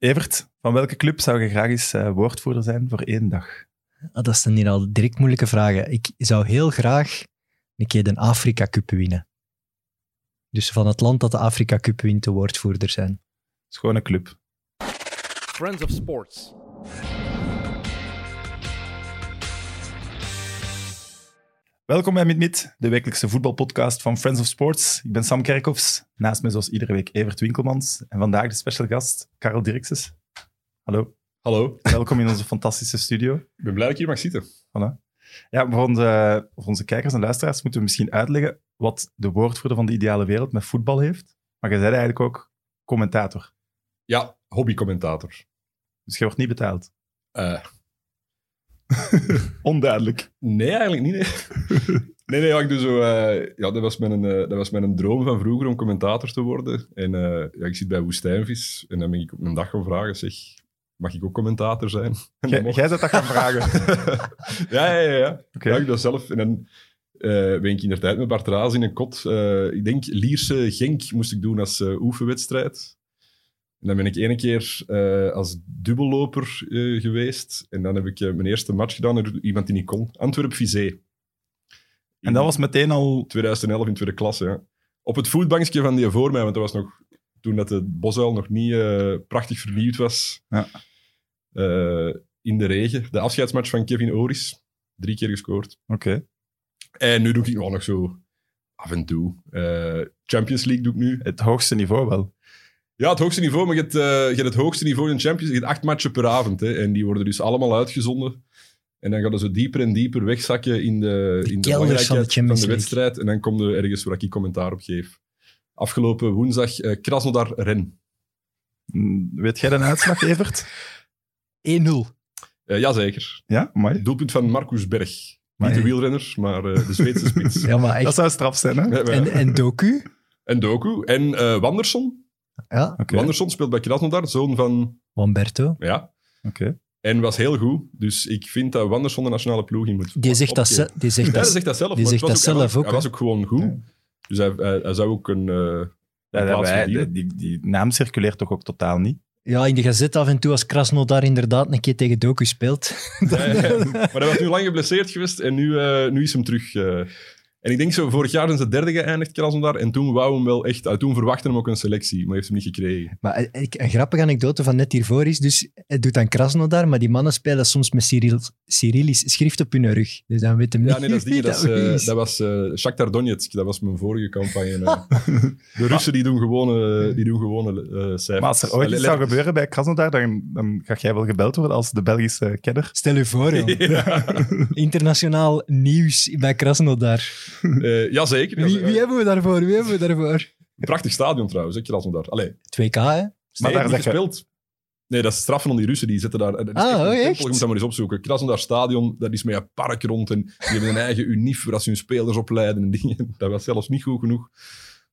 Evert, van welke club zou je graag eens eh, woordvoerder zijn voor één dag? Ah, dat zijn hier al direct moeilijke vragen. Ik zou heel graag een keer de Afrika Cup winnen. Dus van het land dat de Afrika Cup wint, de woordvoerder zijn. Schone club. Friends of Sports. Welkom bij Mit Mit, de wekelijkse voetbalpodcast van Friends of Sports. Ik ben Sam Kerkhoffs, naast mij zoals iedere week Evert Winkelmans. En vandaag de special gast, Karel Dirkses. Hallo, Hallo, welkom in onze fantastische studio. ik ben blij dat ik hier mag zitten. Ja, voor onze, voor onze kijkers en luisteraars moeten we misschien uitleggen wat de woordvoerder van de ideale wereld met voetbal heeft. Maar je bent eigenlijk ook commentator, Ja, hobbycommentator. dus je wordt niet betaald. Eh, Onduidelijk. nee, eigenlijk niet. Nee, nee, nee ja, ik doe zo, eh, ja, dat, was mijn, eh, dat was mijn droom van vroeger om commentator te worden. En eh, ja, ik zit bij Woestijnvis en dan ben ik op een dag gaan vragen, zeg, mag ik ook commentator zijn? En Jij dat mocht. jij zou dat gaan vragen. ja, ja, ja. ja. Oké. Ja, ik dat zelf. En dan eh, ben ik inderdaad met Bart Raas in een kot. eh, ik denk Lierse Genk moest ik doen als eh, oefenwedstrijd. En dan ben ik ene keer eh, als dubbelloper eh, geweest. En dan heb ik eh, mijn eerste match gedaan door iemand die niet kon. Antwerp Vizé. En dat was meteen al... 2011 in tweede klasse. Ja. Op het voetbankje van die voor mij, want dat was nog toen dat de Bosuil nog niet eh, prachtig vernieuwd was. Ja. Eh, in de regen. De afscheidsmatch van Kevin Oris. Drie keer gescoord. Oké. En nu doe ik wel nog zo af en toe. Eh, Champions League doe ik nu. Het hoogste niveau wel. Ja, het hoogste niveau, maar je hebt, eh, je hebt het hoogste niveau in Champions League. Je hebt acht matchen per avond. Hè, en die worden dus allemaal uitgezonden. En dan gaat het zo dieper en dieper wegzakken in de, kelders van de in de belangrijkheid van de, Champions League. wedstrijd. En dan komt er ergens waar ik commentaar op geef. Afgelopen woensdag eh Krasnodar-Ren. Mm, Weet jij de uitslag, Evert? 1-0. Eh jazeker. Ja, mooi. Doelpunt van Marcus Berg. Niet de Maar- wielrenner, maar eh, de Zweedse spits. Ja, maar Dat echt. zou straf zijn, hè? Ja, maar- En, en Doku? En Doku. En eh, Wanderson. Ja, Oké, oké. Wanderson speelt bij Krasnodar. Zoon van... Wamberto. Ja, En was heel goed. Dus ik vind dat Wanderson de nationale ploeg in moet. Die zegt dat, opgeven. ze- die zegt Ja, dat hij zegt dat zelf. die maar het zegt was dat hij zelf was- ook, Hij was ook gewoon goed. Ja. Dus hij, hij, hij zou ook een... eh, Ja, dat plaats wij- verdienen. die, die naam circuleert toch ook totaal niet? Ja, in de gazette af en toe als Krasnodar inderdaad een keer tegen Doku speelt. maar hij was nu lang geblesseerd geweest en nu, eh, nu is hem terug. eh. en ik denk zo, vorig jaar zijn ze derde geëindigd, Krasnodar. En toen wou hem wel echt... uit. toen verwachtte hem ook een selectie, maar heeft hem niet gekregen. Maar eh, ik- een grappige anekdote van net hiervoor is, dus het doet aan Krasnodar, maar die mannen spelen soms met Cyril, Cyrillisch schrift op hun rug. Dus dan weet hem Ja, niet nee, dat is die. wie Dat, is, dat eh, is. dat was eh Shakhtar Donetsk. Dat was mijn vorige campagne. eh. de Russen die doen gewone, die doen gewone eh, cijfers. Maar als er ooit iets Allee, zou letters. gebeuren bij Krasnodar, dan, dan ga jij wel gebeld worden als de Belgische kenner. Stel u voor, joh. Ja. internationaal nieuws bij Krasnodar. Eh, jazeker. Wie, jazeker. wie hebben we daarvoor? Wie hebben we daarvoor? Prachtig stadion trouwens, hè, Krasnodar. Allee, nee, 2K, hè? Maar daar niet zeg je- gespeeld. Nee, dat is straffen van die Russen, die zitten daar. Dat is Ah, echt een oh, tempel, echt? Je moet dat maar eens opzoeken. Krasnodar stadion, dat is met een park rond en die hebben een eigen unief waar ze hun spelers opleiden en dingen. Dat was zelfs niet goed genoeg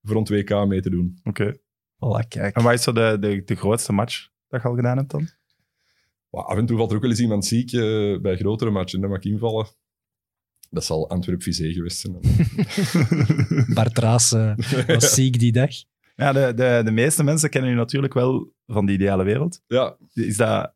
voor een 2K mee te doen. Oké. Voilà, kijk. En wat is zo de, de, de grootste match dat je al gedaan hebt dan? Maar af en toe valt er ook wel eens iemand ziek eh, bij grotere matchen, dat mag invallen. Dat zal Antwerp-Vizé geweest zijn. Bart Raas eh, was ziek die dag. Ja, de, de, de meeste mensen kennen u natuurlijk wel van de ideale wereld. ja, Is dat...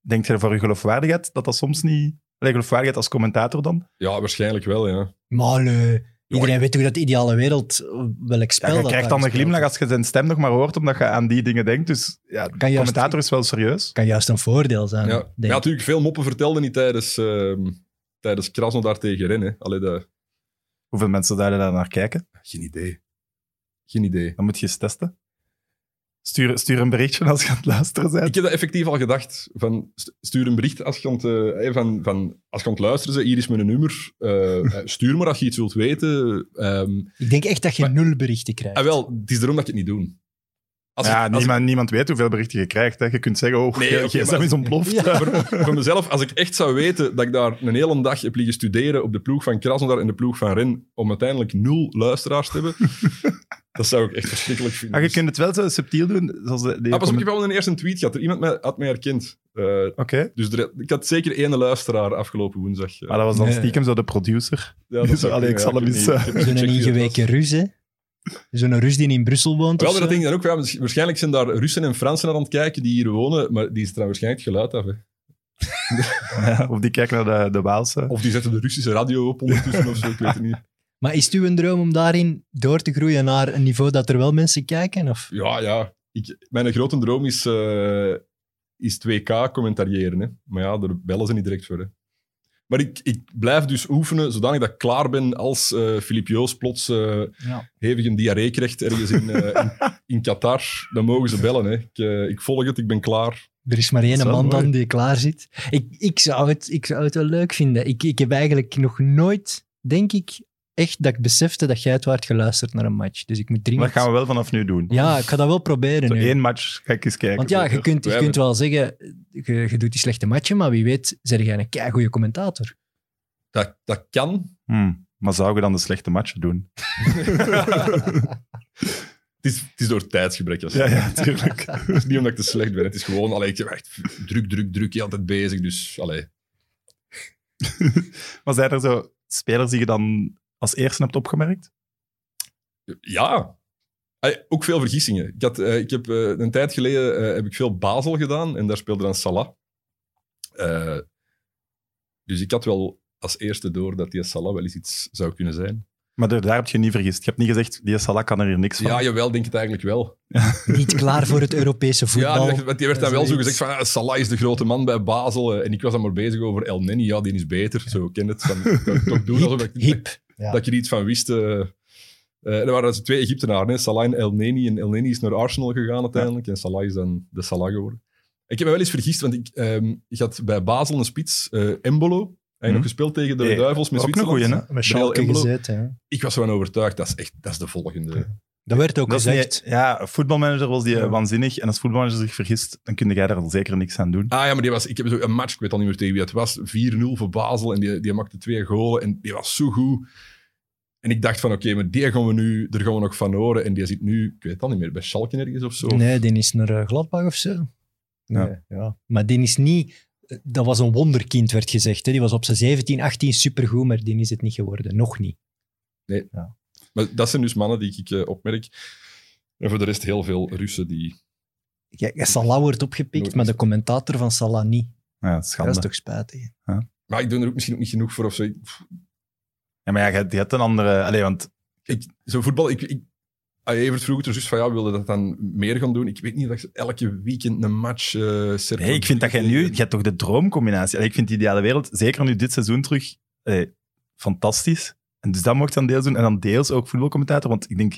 Denkt je voor uw geloofwaardigheid dat dat soms niet... Allee, geloofwaardigheid als commentator dan? ja, waarschijnlijk wel, ja. Maar allee, iedereen weet toch dat de ideale wereld eh, welk spel Ja, je krijgt dat daar dan een gespeeld glimlach wordt. als je zijn stem nog maar hoort, omdat je aan die dingen denkt. Dus ja, Kan juist- commentator is wel serieus. kan juist een voordeel Ah, zijn. Ja, denk ja, ik. natuurlijk, veel moppen vertelden niet tijdens, ehm tijdens Krasnodar tegen Rennen. Allee, dat... Hoeveel mensen daar daar naar kijken? Geen idee. Geen idee. Dan moet je eens testen. Stuur, stuur een berichtje als je aan het luisteren Ik bent. heb dat effectief al gedacht. Van, st- stuur een bericht als je aan het, eh, hey, van, van, als je aan het luisteren bent. Hier is mijn nummer. Eh, eh, stuur maar als je iets wilt weten. Ehm Ik denk echt dat je nul berichten krijgt. ah, wel, het is erom dat ik het niet doe. Als ja, ik, als ik- niemand, niemand weet hoeveel berichten je krijgt. Hè. Je kunt zeggen, oh, Nee, je oké, gsm maar- is ontploft. Ja. voor, voor mezelf, als ik echt zou weten dat ik daar een hele dag heb liggen studeren op de ploeg van Krasnodar en de ploeg van Ren, om uiteindelijk nul luisteraars te hebben, dat zou ik echt verschrikkelijk vinden. Maar Ah, je Dus- kunt het wel zo subtiel doen. Zoals de, die Ah, pas op, comment- ik heb al een eerste tweet gehad. Er iemand mij- had mij herkend. Eh, Oké, dus er- ik had zeker één luisteraar afgelopen woensdag. Eh, maar dat was dan Nee. stiekem zo de producer. ja, dat zou Dus Allee, kunnen, ik zal ja, hem weet eens, niet. eh, Ik heb niet Zo'n gecheckt wie dat ingeweken ruzie. Zo'n Rus die in Brussel woont. Wel, of maar dat zo. denk ik dan ook. Ja, waarsch- waarschijnlijk zijn daar Russen en Fransen naar aan het kijken die hier wonen, maar die is er dan waarschijnlijk het geluid af. Hè. Ja, of die kijkt naar de, de Waalse. Of die zetten de Russische radio op ondertussen of zo, ik weet het niet. Maar is het uw droom om daarin door te groeien naar een niveau dat er wel mensen kijken? Of? Ja, ja. Ik, mijn grote droom is, eh is 2K commentariëren. Hè. Maar ja, daar bellen ze niet direct voor. Hè. Maar ik, ik blijf dus oefenen zodanig dat ik klaar ben als eh Filip Joos plots eh, Ja. hevig een diarree krijgt ergens in, eh, in, in Qatar. Dan mogen ze bellen. Hè. Ik, eh, ik volg het, ik ben klaar. Er is maar één Dat is wel man dan mooi. die klaar zit. Ik, ik, zou het, ik zou het wel leuk vinden. Ik, ik heb eigenlijk nog nooit, denk ik, echt dat ik besefte dat jij het waard geluisterd naar een match. Dus ik moet Maar dringend... dat gaan we wel vanaf nu doen. Ja, ik ga dat wel proberen Zo nu. één match ga ik eens kijken. Want ja, je kunt, je Wij kunt wel zeggen, je, je doet die slechte matchen, maar wie weet, zeg jij een keigoede commentator. Dat, dat kan. Hmm, Maar zou je dan de slechte matchen doen? Het is, het is door tijdsgebrek. als- Ja, ja, tuurlijk. Het is niet omdat ik te slecht ben. Het is gewoon, allee, ik ben echt druk, druk, druk. Je altijd bezig. Dus, allee. maar zijn er zo spelers die je dan als eerste hebt opgemerkt? Ja. Allee, ook veel vergissingen. Ik, had, eh, ik heb eh, een tijd geleden eh, heb ik veel Basel gedaan en daar speelde dan Salah. Eh, dus ik had wel als eerste door dat die Salah wel eens iets zou kunnen zijn. Maar daar, daar heb je niet vergist. Je hebt niet gezegd, die Salah kan er hier niks van. Ja, jawel, denk het eigenlijk wel. Niet klaar voor het Europese voetbal. Ja, die, want die werd dan wel zo Zoiets. gezegd van ah, Salah is de grote man bij Basel. eh, en ik was dan maar bezig over El Neni. Ja, die is beter. Zo, ik ken het. Van, ik kan toch doen alsof ik, Hip. Ja. dat je er iets van wist. eh eh, er waren dus twee Egyptenaren, hè, Salah en El Neni. En El Neni is naar Arsenal gegaan uiteindelijk. En Salah is dan de Salah geworden. Ik heb me wel eens vergist, want ik, ehm, ik had bij Basel een spits, eh, Embolo. Hij heeft Hm. Mhm. nog gespeeld tegen de Hey, Duivels met ook een Zwitserland. goeie, hè? Met Bril Schalke en Blue. gezeten. ja. Ik was ervan overtuigd, dat is echt dat is de volgende. Dat werd ook Dat is gezegd. niet, ja, voetbalmanager was die eh, Ja. waanzinnig. En als voetbalmanager zich vergist, dan kun jij daar al zeker niks aan doen. Ah ja, maar die was, ik heb zo een match, ik weet al niet meer tegen wie het was, 4-0 voor Basel. En die, die maakte twee golen en die was zo goed. En ik dacht van, oké, maar die gaan we nu, daar gaan we nog van horen. En die zit nu, ik weet het al niet meer, bij Schalke ergens of zo. Nee, die is naar eh, Gladbach of zo. Nee, ja. Maar die is niet... eh, Dat was een wonderkind, werd gezegd. Hè. Die was op zijn 17, 18 supergoed, maar die is het niet geworden. Nog niet. Maar dat zijn dus mannen die ik eh, opmerk. En voor de rest heel veel Russen die... Ja, ja, Salah wordt opgepikt, Nooit. maar de commentator van Salah niet. Ja, schande. Dat is toch spijtig. hè? Maar ik doe er ook misschien ook niet genoeg voor of zo. Ik- Ja, maar ja, je, je hebt een andere... Allee, want ik- zo voetbal, ik... ik Ah, Evert vroeg het er juist van, ja, wilde dat dan meer gaan doen? Ik weet niet dat ik elke weekend een match... eh zet. nee, ik vind dat jij nu... Je hebt toch de droomcombinatie. Allee, ik vind de ideale wereld, zeker nu dit seizoen terug, allee, fantastisch. En dus dat mocht dan deels doen. En dan deels ook voetbalcommentator. Want ik denk,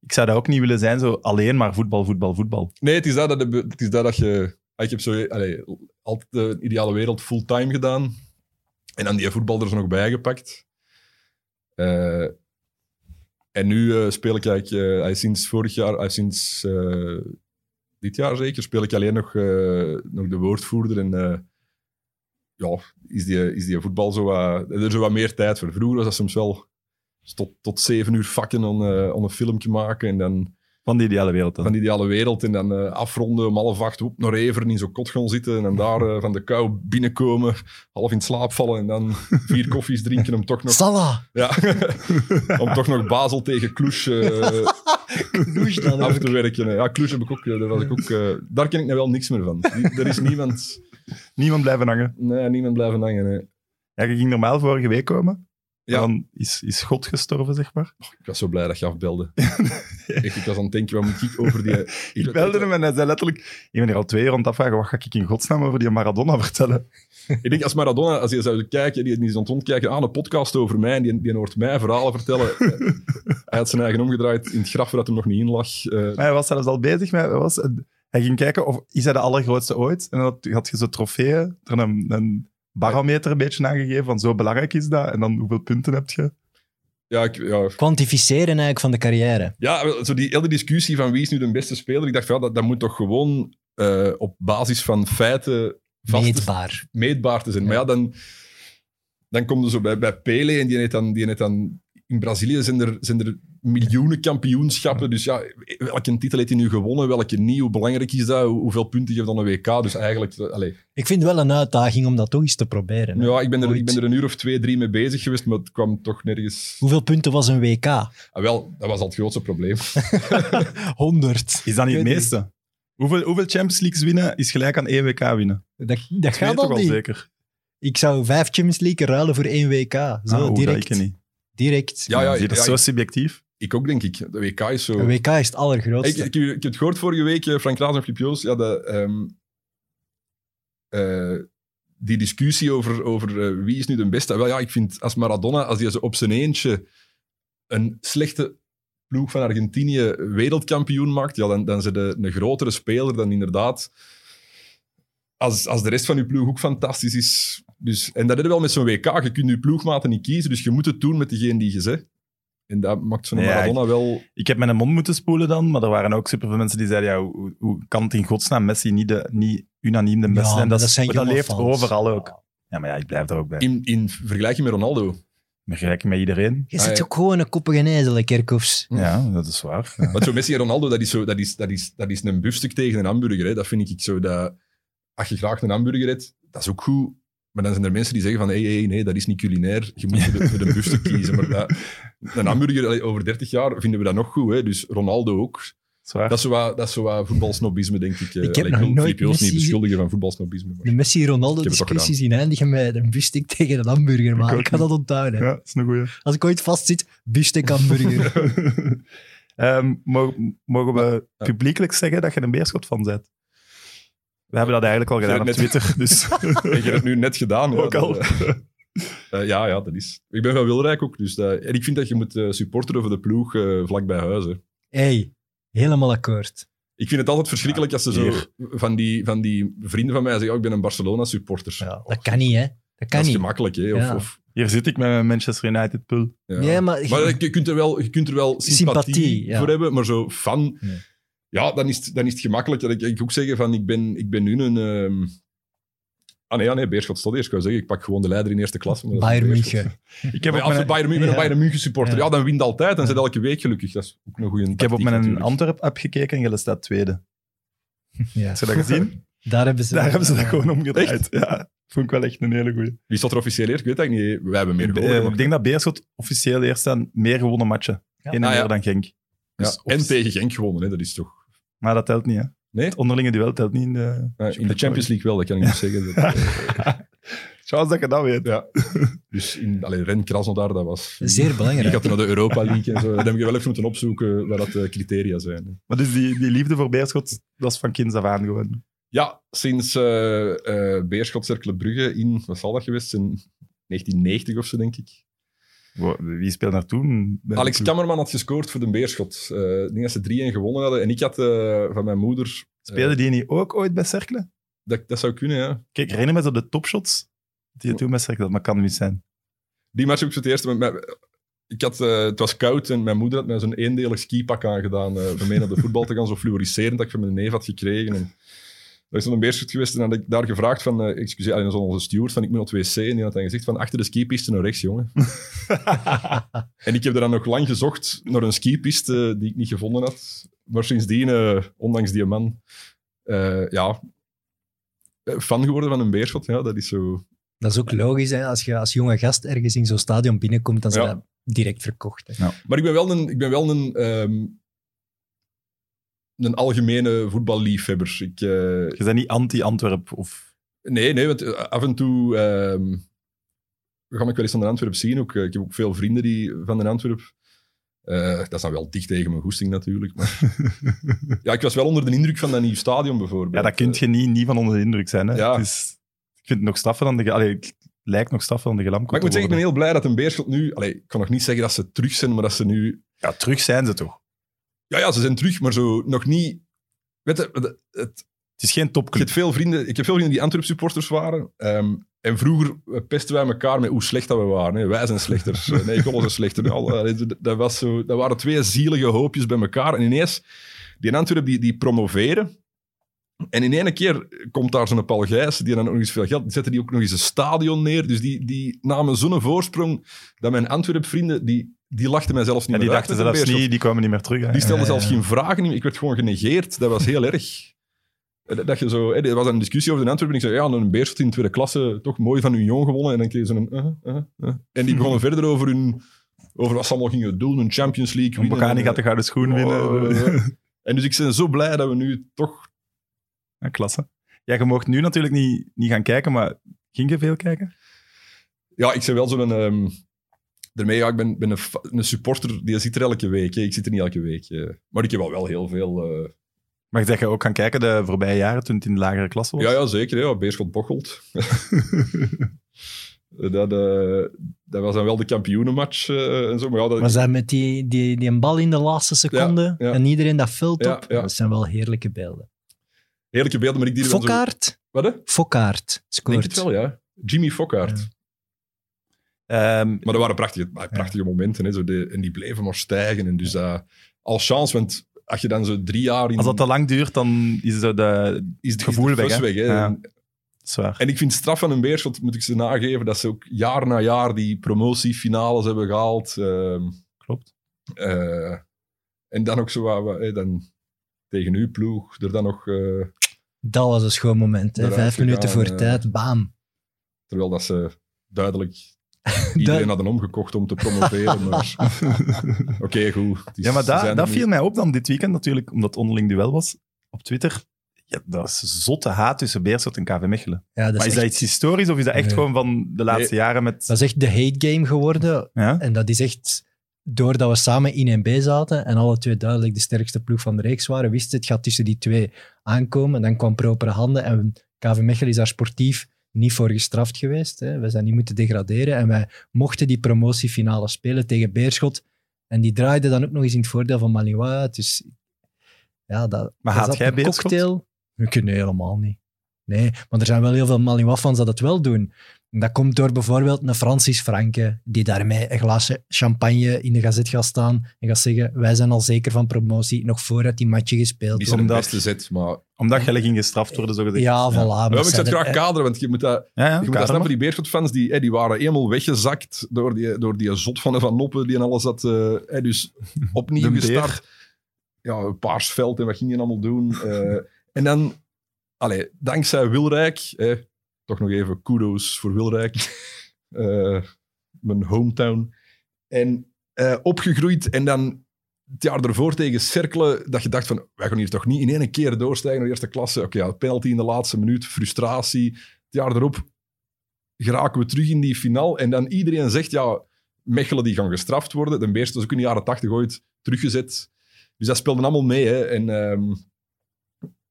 ik zou dat ook niet willen zijn, zo alleen maar voetbal, voetbal, voetbal. Nee, het is dat, dat, de be- het is dat, dat je... ah, Ik heb zo allee, altijd de ideale wereld fulltime gedaan. En dan die voetbal er zo nog bij gepakt. Eh, en nu eh, speel ik eigenlijk... eh, allee, sinds vorig jaar... allee, sinds eh, dit jaar zeker speel ik alleen nog, eh, nog de woordvoerder. En eh, ja, is die, is die voetbal zo wat... Er is zo wat meer tijd voor. Vroeger was dat soms wel... Tot, tot zeven uur vakken om, eh, om een filmpje maken en dan Van de ideale wereld dan. van die ideale wereld. En dan eh, afronden, om half acht, op naar Everen in zo'n kot gaan zitten. En dan daar eh, van de kou binnenkomen, half in slaap vallen. En dan vier koffies drinken om toch nog, Salah! ja, om toch nog Basel tegen Kloes eh, Kloes dan af ook. te werken. Ja, Kloes heb ik ook, eh, daar, was ik ook eh, daar ken ik nou wel niks meer van. Die- er is niemand, Niemand blijven hangen. nee, niemand blijven hangen. hè. Ja, je ging normaal vorige week komen. Ja. Ja. Dan is, is God gestorven, zeg maar. Ik was zo blij dat je afbelde. Echt, ik was aan het denken, wat moet ik over die... Ik belde hem en hij zei letterlijk... Ik ben hier al twee uur aan het afvragen, wat ga ik in godsnaam over die Maradona vertellen? Ik denk, als Maradona, als je zou kijken, die, die is aan het rondkijken aan een podcast over mij, en die, die hoort mij verhalen vertellen. Eh, hij had zijn eigen omgedraaid in het graf waar dat hem nog niet in lag. Eh, Maar hij was zelfs al bezig met... Hij, was, hij ging kijken of... Is hij de allergrootste ooit? En dan had, had je zo trofeeën, er een, een barometer een beetje aangegeven van zo belangrijk is dat. En dan hoeveel punten heb je? ja, ik, ja. Kwantificeren eigenlijk van de carrière. ja, wel, zo die hele discussie van wie is nu de beste speler, ik dacht, van, ja, dat, dat moet toch gewoon eh, op basis van feiten vast te Meetbaar. meetbaar te zijn. Maar ja, dan, dan kom je zo bij, bij Pele en die net dan, die net dan... In Brazilië zijn er, zijn er miljoenen kampioenschappen. Dus ja, welke titel heeft hij nu gewonnen? Welke niet? Hoe belangrijk is dat? Hoe- Hoeveel punten geeft dan een WK? Dus eigenlijk, eh, allee. Ik vind het wel een uitdaging om dat toch eens te proberen. hè. Ja, ik ben, er, Ooit. ik ben er een uur of twee, drie mee bezig geweest, maar het kwam toch nergens... Hoeveel punten was een WK? Ah, wel, dat was al het grootste probleem. 100. Is dat niet Ik het weet meeste? Hoeveel, hoeveel Champions Leagues winnen is gelijk aan één WK winnen? Dat, dat Twee gaat toch al al niet. zeker? Ik zou vijf Champions League ruilen voor één WK. Zo, Ah, hoe, dat direct. ik niet. direct. Ja, ja, Zie je, dat is ja, zo ik- subjectief. Ik ook, denk ik. De WK is zo... Een WK is het Ik, allergrootste. ik, ik heb het gehoord vorige week, eh, Frank Raas en Filip Joos, ja, dat, ehm, eh, die discussie over, over eh, wie is nu de beste. Wel ja, ik vind als Maradona, als hij zo op zijn eentje een slechte ploeg van Argentinië wereldkampioen maakt, ja, dan, dan zijn de een grotere speler dan inderdaad. Als, als de rest van je ploeg ook fantastisch is. Dus, en dat is wel met zo'n WK. Je kunt je ploegmaten niet kiezen, dus je moet het doen met degene die je zegt. En dat maakt zo'n Nee, ja, Maradona wel... Ik heb mijn mond moeten spoelen dan, maar er waren ook superveel mensen die zeiden, ja, hoe, hoe kan het in godsnaam Messi niet, de, niet unaniem de Ja, beste zijn? maar Dat, dat is- zijn maar dat jonge leeft fans. overal ook. Ja, maar ja, ik blijf er ook bij. Ik In, in vergelijking met Ronaldo. vergelijk met iedereen. Je Ah, zit ja. ook gewoon een koppige ijzelen, Kerkhoffs. Hm. Ja, dat is waar. Ja. Want zo Messi en Ronaldo, dat is, zo, dat is, dat is, dat is een biefstuk tegen een hamburger. Hè. Dat vind ik zo. Dat, als je graag een hamburger eet, dat is ook goed. Maar dan zijn er mensen die zeggen van, hé, hey, hey, nee, dat is niet culinair. Je moet voor de- voor een biefstuk kiezen. Maar dat, een hamburger, allee, over 30 jaar vinden we dat nog goed. Hè. Dus Ronaldo ook. Dat is waar. Dat is zo wat, dat is zo wat voetbalsnobisme, denk ik. eh. heb Allee, nog wil nooit Filip Joos niet Messi- beschuldigen van voetbalsnobisme. maar- De Ik heb het toch Messi-Ronaldo-discussies zien eindigen met een biefstuk tegen een hamburger. Maar ook ik, ga dat onthouden. Ja, dat is een goeie. Als ik ooit vastzit, biefstuk hamburger. Ehm, mogen, mogen we Ja. publiekelijk zeggen dat je een beerschot van bent? We hebben dat eigenlijk al gedaan op net- Twitter. Dus. En je hebt het nu net gedaan. hè. Ook al. Dat, eh, eh, ja, ja, dat is. Ik ben van Wilrijk ook. Dus dat- en ik vind dat je moet eh, supporteren voor de ploeg eh, vlak bij huis. hè. hey, helemaal akkoord. Ik vind het altijd verschrikkelijk als ze zo hier. van die, van die vrienden van mij zeggen: oh, Ik ben een Barcelona-supporter. Ja, Och, dat kan niet, hè. Dat kan dat is niet. gemakkelijk. Hè? Of, Ja. of, Hier zit ik met mijn Manchester United pul. ja. Ja, maar, Maar eh, je kunt er wel, je kunt er wel sympathie, Sympathie, ja. voor hebben, maar zo van. Nee. Ja, dan is, het- dan is het gemakkelijk. Dat ik, ik ook zeggen van, ik ben, ik ben nu een... ehm, Ah nee, ah nee, Beerschot staat eerst. Ik wou zeggen, ik pak gewoon de leider in eerste klasse. maar dat is Bayern Beerschot. München. Ik Ik heb heb op als mijn, je Bayern München, een Ja. Bayern München supporter, ja. Ja. dan wint altijd. Dan Ja. zijn elke week gelukkig. Dat is ook een goede ik heb op tactiek mijn natuurlijk. Antwerp-app gekeken en jullie staat tweede. Ja. Heb je dat gezien? Daar hebben ze, Daar hebben ze dat eh, gewoon omgedraaid. Ja, vond ik wel echt een hele goeie. Wie staat er officieel eerst? Ik weet het eigenlijk niet. Wij hebben meer gewonnen. Eh, maar- ik denk dat Beerschot officieel eerst staan meer gewonnen matchen. Ja. Eén en Ah, ja. meer dan Genk. Ja, Dus En offici- tegen Genk gewonnen, hè. dat is toch... Maar dat telt niet, hè? Nee? Het onderlinge duel telt niet in de... Ja, in de Champions League wel, dat kan ik nog zeggen. Dat- eh, Charles, dat je dat weet. ja. Dus in allee, Ren Krasnodar, dat was... Zeer Ik belangrijk. had naar de Europa League en zo. Dat heb ik wel even moeten opzoeken waar dat de criteria zijn. Maar dus die, die liefde voor Beerschot, dat is van kinds af aan gewoon. Ja, sinds eh eh Beerschot Cercle Brugge in, wat zal dat geweest zijn? 1990 of zo, denk ik. Wow, Wie speelde daar toen? bij Alex de ploeg? Kammerman had gescoord voor de Beerschot. Eh, ik denk dat ze 3-1 gewonnen hadden. En ik had eh, van mijn moeder... Speelde die niet ook ooit bij Cercle? Dat, dat zou kunnen, ja. Kijk, herinner me eens op de topshots die je toen bij Cercle had, maar kan niet zijn. Die match heb ik voor het eerst... Met, met- ik had, eh, het was koud en mijn moeder had mij zo'n eendelig skipak aangedaan eh om mee naar de voetbal te gaan, zo fluoriserend dat ik van mijn neef had gekregen. En dat is dan een beerschot geweest en dan had ik daar gevraagd van, eh, excuseer, allee, zo'n onze steward, van ik moet naar het wc. En die had dan gezegd van, achter de skipiste naar rechts, jongen. En ik heb er dan nog lang gezocht naar een skipiste die ik niet gevonden had. Maar sindsdien, eh, ondanks die man, eh, ja, eh, fan geworden van een beerschot. Ja, dat is zo. Dat is ook logisch, hè. Als je als jonge gast ergens in zo'n stadion binnenkomt, dan zijn Ja. dat direct verkocht. Hè. Maar ik ben wel een, ik ben wel een, ehm, een algemene voetballiefhebber. Ik, eh, Je bent niet anti-Antwerp of... nee, nee, want eh, af en toe ehm ga ik wel eens aan de Antwerp zien. Ook, eh, ik heb ook veel vrienden die van de Antwerp. eh, dat is dan wel dicht tegen mijn goesting natuurlijk. Maar ja, ik was wel onder de indruk van dat nieuw stadion bijvoorbeeld. Ja, dat kun je niet, niet van onder de indruk zijn. Hè? eh, Ja. Het is, ik vind het nog straffer dan de... ge- Allee, het lijkt nog straffer dan de gelamkoek Maar ik moet te zeggen, ik ben worden. heel blij dat een Beerschot nu... Allee, ik kan nog niet zeggen dat ze terug zijn, maar dat ze nu... Ja, terug zijn ze toch. Ja, ja, ze zijn terug, maar zo nog niet... Weet je, het, het- Het is geen ik, heb topclub. veel vrienden, ik heb veel vrienden die Antwerp-supporters waren. ehm, en vroeger pesten wij elkaar met hoe slecht dat we waren. hè. Wij zijn slechter. eh, Nee, ik was slechter. Al- eh, allee, dat- Dat, was zo, dat waren twee zielige hoopjes bij elkaar. En ineens, die in Antwerp die, die promoveren. En in ene keer komt daar zo'n Paul Gijs, die dan ook nog eens veel geld... Die zetten die ook nog eens een stadion neer. Dus die, die namen zo'n voorsprong dat mijn Antwerp-vrienden... Die, die lachten mij zelfs Ja, niet die meer dachten uit met een zelfs beerschot. niet, die kwamen niet meer terug. hè. Die stelden Ja, ja, Eh. zelfs geen vragen. Ik werd gewoon genegeerd. Dat was heel erg. Eh, Dat je zo, eh, er was een discussie over de Antwerpen. En ik zei, ja, een beerschot in tweede klasse, toch mooi van Union gewonnen. En dan kreeg ze een... eh, eh, eh. En die begonnen verder over hun... Over wat ze allemaal gingen doen, een Champions League Om winnen. Bocani en, gaat de eh, gouden schoen winnen. oh, eh, eh. En dus ik ben zo blij dat we nu toch... Ja, klasse. Ja, je mocht nu natuurlijk niet, niet gaan kijken, maar ging je veel kijken? Ja, ik ben wel zo'n... ehm daarmee, ja, ik ben, ben een, fa- een supporter, die zit er elke week. hè. Ik zit er niet elke week. eh. Maar ik heb al wel heel veel... eh, Maar je zegt je ook gaan kijken de voorbije jaren toen het in de lagere klasse was? Ja, ja zeker. Ja. Beerschot bochelt. dat, eh, dat was dan wel de kampioenenmatch eh, en zo. Maar ja, dat, Was dat met die, die, die een bal in de laatste seconde ja. en iedereen dat vult Ja, op? ja. Dat zijn wel heerlijke beelden. heerlijke beelden, maar ik die er dan zo- Fokkaart? Wat, hè? Fokkaart Denk scoort. het wel, ja. Jimmy Fokkaart. Ja. Ehm, Maar dat waren prachtige, maar prachtige momenten. Hè, zo de, en die bleven maar stijgen. En dus dat, als chance, want als je dan zo drie jaar in... als dat te lang duurt, dan is zo de... is het gevoel weg, hè? weg hè. Ja. En, Zwaar. en ik vind het straf van een Beerschot, moet ik ze nageven, dat ze ook jaar na jaar die promotiefinales hebben gehaald. ehm, Klopt. Eh, en dan ook zo wat, wat, hè, dan tegen uw ploeg, er dan nog, eh, Dat was een schoon moment. Hè? Eruit Vijf gegaan, minuten voor eh. tijd, baam. terwijl dat ze duidelijk iedereen hadden omgekocht om te promoveren. maar oké, goed. het is- Ja, maar ze dat, zijn dat er viel nu. mij op dan dit weekend natuurlijk, omdat het onderling duel was op Twitter. Ja, dat was zotte haat tussen Beerschot en KV Mechelen. Ja, dat, maar is is echt, dat iets historisch of is dat echt Nee. gewoon van de laatste Nee. jaren met... dat is echt de hate game geworden. Ja? En dat is echt doordat we samen in en B zaten en alle twee duidelijk de sterkste ploeg van de reeks waren, wist het, het gaat tussen die twee aankomen. En dan kwam propere handen en KV Mechelen is daar sportief niet voor gestraft geweest. Hè. We zijn niet moeten degraderen en wij mochten die promotiefinale spelen tegen Beerschot. En die draaide dan ook nog eens in het voordeel van Malinois. uit. Dus ja, dat, Maar dat haat zat jij een Beerschot? cocktail. Ik- Nee, helemaal niet. Nee, want er zijn wel heel veel Malinois-fans dat het wel doen. En Dat komt door bijvoorbeeld een Francis Franke, die daarmee een glaasje champagne in de gazet gaat staan en gaat zeggen, wij zijn al zeker van promotie, nog voordat die matje gespeeld Die is. zijn de Omdat- beste zet, maar... Omdat Gelle ging gestraft worden, zo gezegd. Ja, voilà. ja. Ja, maar ik zou zijn het graag er- kaderen, want je moet dat, Ja, ja, je moet Kader dat snappen. maar. Die Beerschot-fans, die, hè, die waren eenmaal weggezakt door die, door die zot van de Van Noppen, die en alles had... eh, hè, dus opnieuw De beer. gestart. Ja, paarsveld en wat ging je allemaal doen. Eh, en dan, allee, dankzij Wilrijk, eh, toch nog even kudos voor Wilrijk, eh, mijn hometown. En eh, opgegroeid en dan het jaar ervoor tegen Cerkelen, dat je dacht van, wij gaan hier toch niet in één keer doorstijgen naar de eerste klasse. Oké, ja, penalty in de laatste minuut, frustratie. Het jaar erop geraken we terug in die finale en dan iedereen zegt, ja, Mechelen die gaan gestraft worden. De Beerst was ook in de jaren tachtig ooit teruggezet. Dus dat speelde allemaal mee. Hè. En ehm,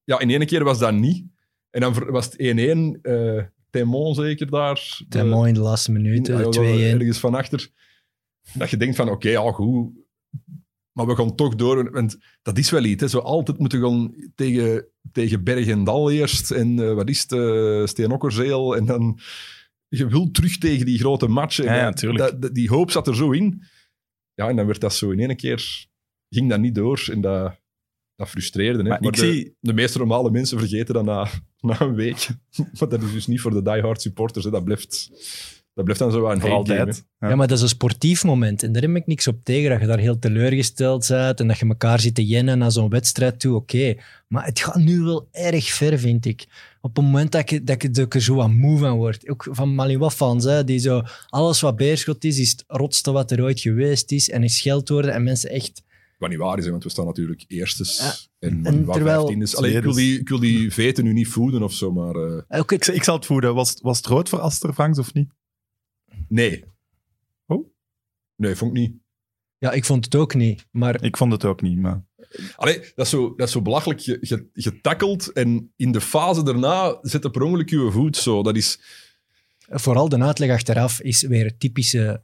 ja, in ene keer was dat niet. En dan ver- was het 1-1. eh Temon zeker daar. De- Te mooi in de laatste in- ah, ja, minuten, wel 2-1. Ergens van achter. Dat je denkt van, oké, ja, goed. Maar we gaan toch door. Want dat is wel iets. Hè. Zo altijd moeten gaan tegen, tegen Berg en Dal eerst. En eh, wat is het? eh, Steenokkerzeel. En dan... Je wilt terug tegen die grote matchen. Ja, ja, En tuurlijk. dat- dat- die hoop zat er zo in. Ja, en dan werd dat zo in één keer... Ging dat niet door. En dat, dat frustreerde. Hè. Maar ik de, zie- de meeste normale mensen vergeten dat na, na een week. maar dat is dus niet voor de diehard supporters. Hè. Dat blijft... Dat blijft dan zo aan Voor altijd. Ja. Ja, maar dat is een sportief moment. En daar heb ik niks op tegen. Dat je daar heel teleurgesteld bent en dat je elkaar zit te jennen naar zo'n wedstrijd toe. Oké. Maar het gaat nu wel erg ver, vind ik. Op het moment dat ik, dat ik, dat ik er zo aan moe van word. Ook van Malinois-fans, hè, die zo... Alles wat Beerschot is, is het rotste wat er ooit geweest is. En is worden en mensen echt... Wat niet waar is, hè, want we staan natuurlijk eerstes. Ja. En, En terwijl- terwijl... Alleen, ik, wil die, ik wil die veten nu niet voeden of zo, maar... eh, Ook Ik, het, ik zal het voeden. Was, was het rood voor Aster Franks of niet? nee. Oh? Nee, vond ik niet. ja, ik vond het ook niet. Maar Ik vond het ook niet, maar... Allee, dat is zo, dat is zo belachelijk ge- ge- getackeld. En in de fase daarna zet je per ongeluk je voet zo. Dat is... Vooral de uitleg achteraf is weer typische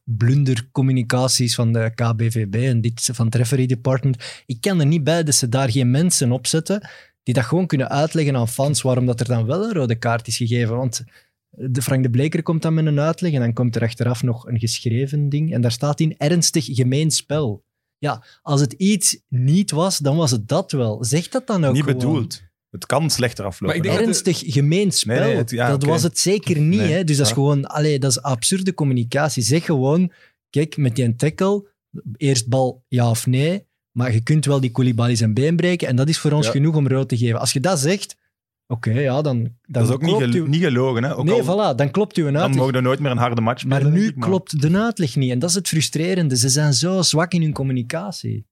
blundercommunicaties van de KBVB en dit van het referee department. Ik kan er niet bij dat ze daar geen mensen op zetten die dat gewoon kunnen uitleggen aan fans waarom dat er dan wel een rode kaart is gegeven. Want de Frank de Bleker komt dan met een uitleg en dan komt er achteraf nog een geschreven ding en daar staat in ernstig gemeen spel. Ja, als het iets niet was, dan was het dat wel. Zeg dat dan ook niet gewoon. bedoeld. Het kan slechter aflopen. Maar ik denk- Ernstig gemeen spel. Nee, nee, het- ja, dat oké. was het zeker niet. Nee, hè? Dus dat is ja. gewoon allee, dat is absurde communicatie. Zeg gewoon, kijk, met die tackle Eerst bal ja of nee. Maar je kunt wel die Koulibaly zijn been breken. En dat is voor ons Ja. genoeg om rood te geven. Als je dat zegt, oké, ja, dan, dan Dat is ook niet, klopt gelo- uw- niet gelogen. Hè? Ook Nee, al- voilà, dan klopt u een dan uitleg. mogen we nooit meer een harde match spelen. Maar nu denk ik, klopt de uitleg niet. En dat is het frustrerende. Ze zijn zo zwak in hun communicatie.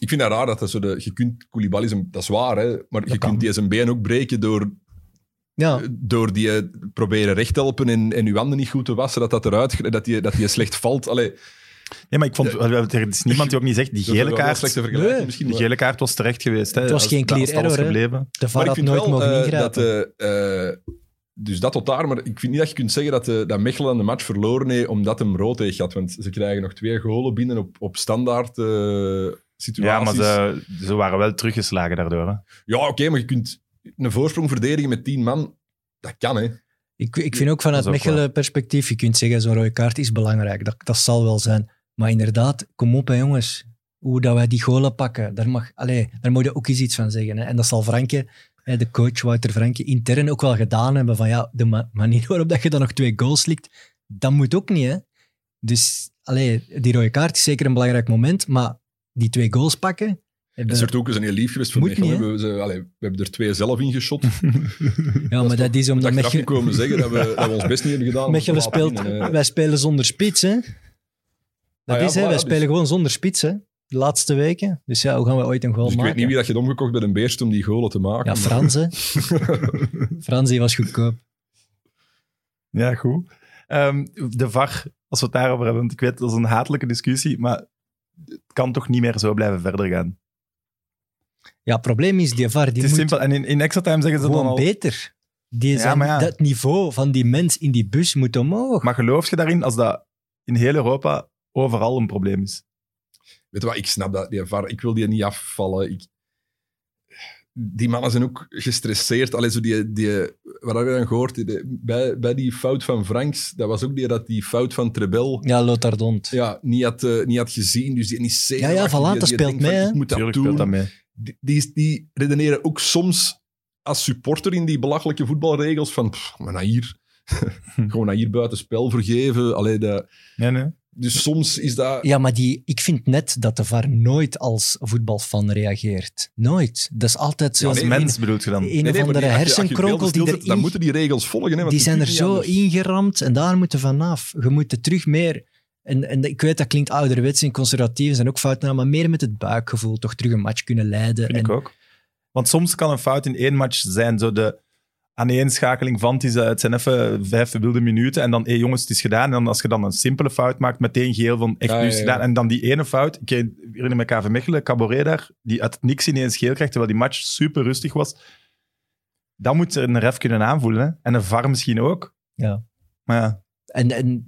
Ik vind dat raar dat, dat zo de, je kunt Koulibaly, zijn- dat is waar, hè, maar je kan. kunt die zijn been ook breken door, Ja, door die eh, proberen recht te helpen en, en je handen niet goed te wassen, dat dat eruit dat die, dat die slecht valt. Allee, Nee, maar ik vond, er is niemand die ook niet zegt, die dat is wel gele een kaart, slechte vergelijking Nee. misschien. die maar- gele kaart was terecht geweest. Hè? Het was Als- geen clear als dat was error, hè? gebleven. de VAR Maar ik had vind nooit wel mogen eh, dat... ingrijpen. eh, eh, dus dat tot daar, maar ik vind niet dat je kunt zeggen dat, eh, dat Mechelen de match verloren heeft omdat hem rood heeft gehad. Want ze krijgen nog twee golen binnen op, op standaard eh, Ja, maar situaties. ze, ze waren wel teruggeslagen daardoor. Hè? Ja, oké, maar je kunt een voorsprong verdedigen met tien man. Dat kan, hè. Ik, ik vind ook vanuit Dat is ook waar. Mechelen-perspectief, je kunt zeggen, zo'n rode kaart is belangrijk. Dat, dat zal wel zijn. Maar inderdaad, kom op hè, jongens. Hoe dat wij die golen pakken, daar mag, allee, daar moet je ook eens iets van zeggen. Hè. En dat zal Franke, hè, de coach Wouter Franke, intern ook wel gedaan hebben. Van ja, de ma- manier waarop dat je dan nog twee goals slikt, dat moet ook niet. Hè. Dus allee, die rode kaart is zeker een belangrijk moment. Maar die twee goals pakken... En hebben- Sertoukens zijn heel lief geweest voor Moet Mechelen. niet, we, hebben ze- allee, we hebben er twee zelf ingeschot. Ik ja, maar dat is moet omdat achteraf niet Mechelen, komen zeggen dat we, dat we ons best niet hebben gedaan. Mechelen Laat in, speelt... eh, Wij spelen zonder spits, hè. Dat Ah ja, is, hè. voilà, Wij dus- spelen gewoon zonder spits, hè. De laatste weken. Dus ja, hoe gaan we ooit een goal dus ik maken? weet niet wie dat je hebt omgekocht bij een beest om die golen te maken. Ja, Frans, hè. Frans, die was goedkoop. Ja, goed. Ehm, de VAR, als we het daarover hebben, want ik weet, dat is een hatelijke discussie, maar het kan toch niet meer zo blijven verder gaan. Ja, het probleem is, die VAR, die het is moet simpel. En in, in extra time zeggen ze dan gewoon al... beter. Die Ja, zijn, maar ja. Dat niveau van die mens in die bus moet omhoog. Maar geloof je daarin als dat in heel Europa overal een probleem is? Weet je wat, ik snap dat. Die VAR, ik wil die niet afvallen. Ik, die mannen zijn ook gestresseerd. Allee, zo die, die, wat hebben we dan gehoord? Die- die- bij, bij die fout van Franks, dat was ook die, dat die fout van Trebel Ja, Lothar Dont. ja, niet, had, eh, niet had gezien. Dus die niet zenuwachtig, Ja, ja, voilà, dat die- die speelt denkt van, mee, hè. Ik moet dat Tuurlijk doen. speelt dat mee. Die, die, is- die redeneren ook soms als supporter in die belachelijke voetbalregels van, pff, maar naar hier. Gewoon naar hier buiten spel vergeven. Allee, dat, Nee, nee. dus soms is dat... Ja, maar die, ik vind net dat de VAR nooit als voetbalfan reageert. Nooit. Dat is altijd Ja, zo'n Als nee, mens bedoelt je dan? een, een Nee, of nee, maar andere die- als je- als je hersenkronkel beelden die stilzet, Dan erin moeten die regels volgen. Hè, want die dat zijn kun er je zo niet anders. ingeramd en daar moeten vanaf. Je moet er terug meer. En, en ik weet dat klinkt ouderwets en conservatief en zijn ook fouten, maar meer met het buikgevoel toch terug een match kunnen leiden. Vind En, ik ook. Want soms kan een fout in één match zijn, zo de aaneenschakeling van, het, is, eh, het zijn even vijf wilde minuten en dan, hé jongens, het is gedaan. En dan als je dan een simpele fout maakt, meteen geel van, echt Ja, nu is het ja, ja. gedaan. En dan die ene fout, ik herinner me KV Mechelen, Cabaret daar, die uit het niks ineens geel krijgt, terwijl die match super rustig was. Dan moet er een ref kunnen aanvoelen, hè? En een VAR misschien ook. Ja. Maar ja, en, en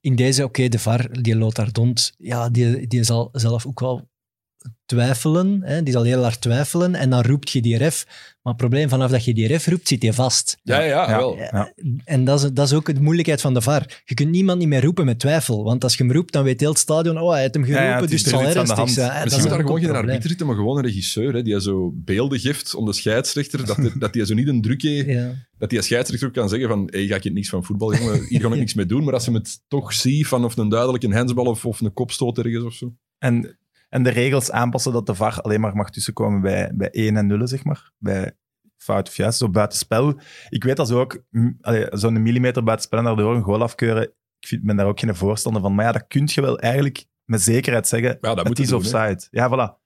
in deze, oké, de VAR, die Lothar Dont, ja, die, die zal zelf ook wel twijfelen. Hè? Die zal heel hard twijfelen en dan roept je die ref. Maar het probleem, vanaf dat je die ref roept, zit je vast. Ja, ja, ja, Ja. wel. Ja. En dat is, dat is ook de moeilijkheid van de VAR. Je kunt niemand niet meer roepen met twijfel. Want als je hem roept, dan weet heel het stadion, oh, hij heeft hem geroepen, Ja, ja, het is- dus het er is zal iets aan de ernstig hand. zijn. Ja, dat is Misschien moet ook daar een gewoon geen probleem. arbiter zitten, maar gewoon een regisseur hè, die zo beelden geeft om de scheidsrechter. Dat, de- dat die zo niet een druk heeft. Ja. Dat die scheidsrechter ook kan zeggen van hey, ga ik hier niks van voetbal, jongen, hier ga ik niks mee doen. Maar als ze het toch zien van of een duidelijk een handsbal of, of een kopstoot ergens of zo. En, en de regels aanpassen dat de VAR alleen maar mag tussenkomen bij, bij 1 en 0, zeg maar. Bij fout of juist, zo buitenspel. Ik weet dat ze ook mm, allee, zo'n millimeter buitenspel en daardoor een goal afkeuren. Ik vind, ben daar ook geen voorstander van. Maar ja, dat kun je wel eigenlijk met zekerheid zeggen. Ja, dat moet het je is doen, hè. offside. Ja, voilà.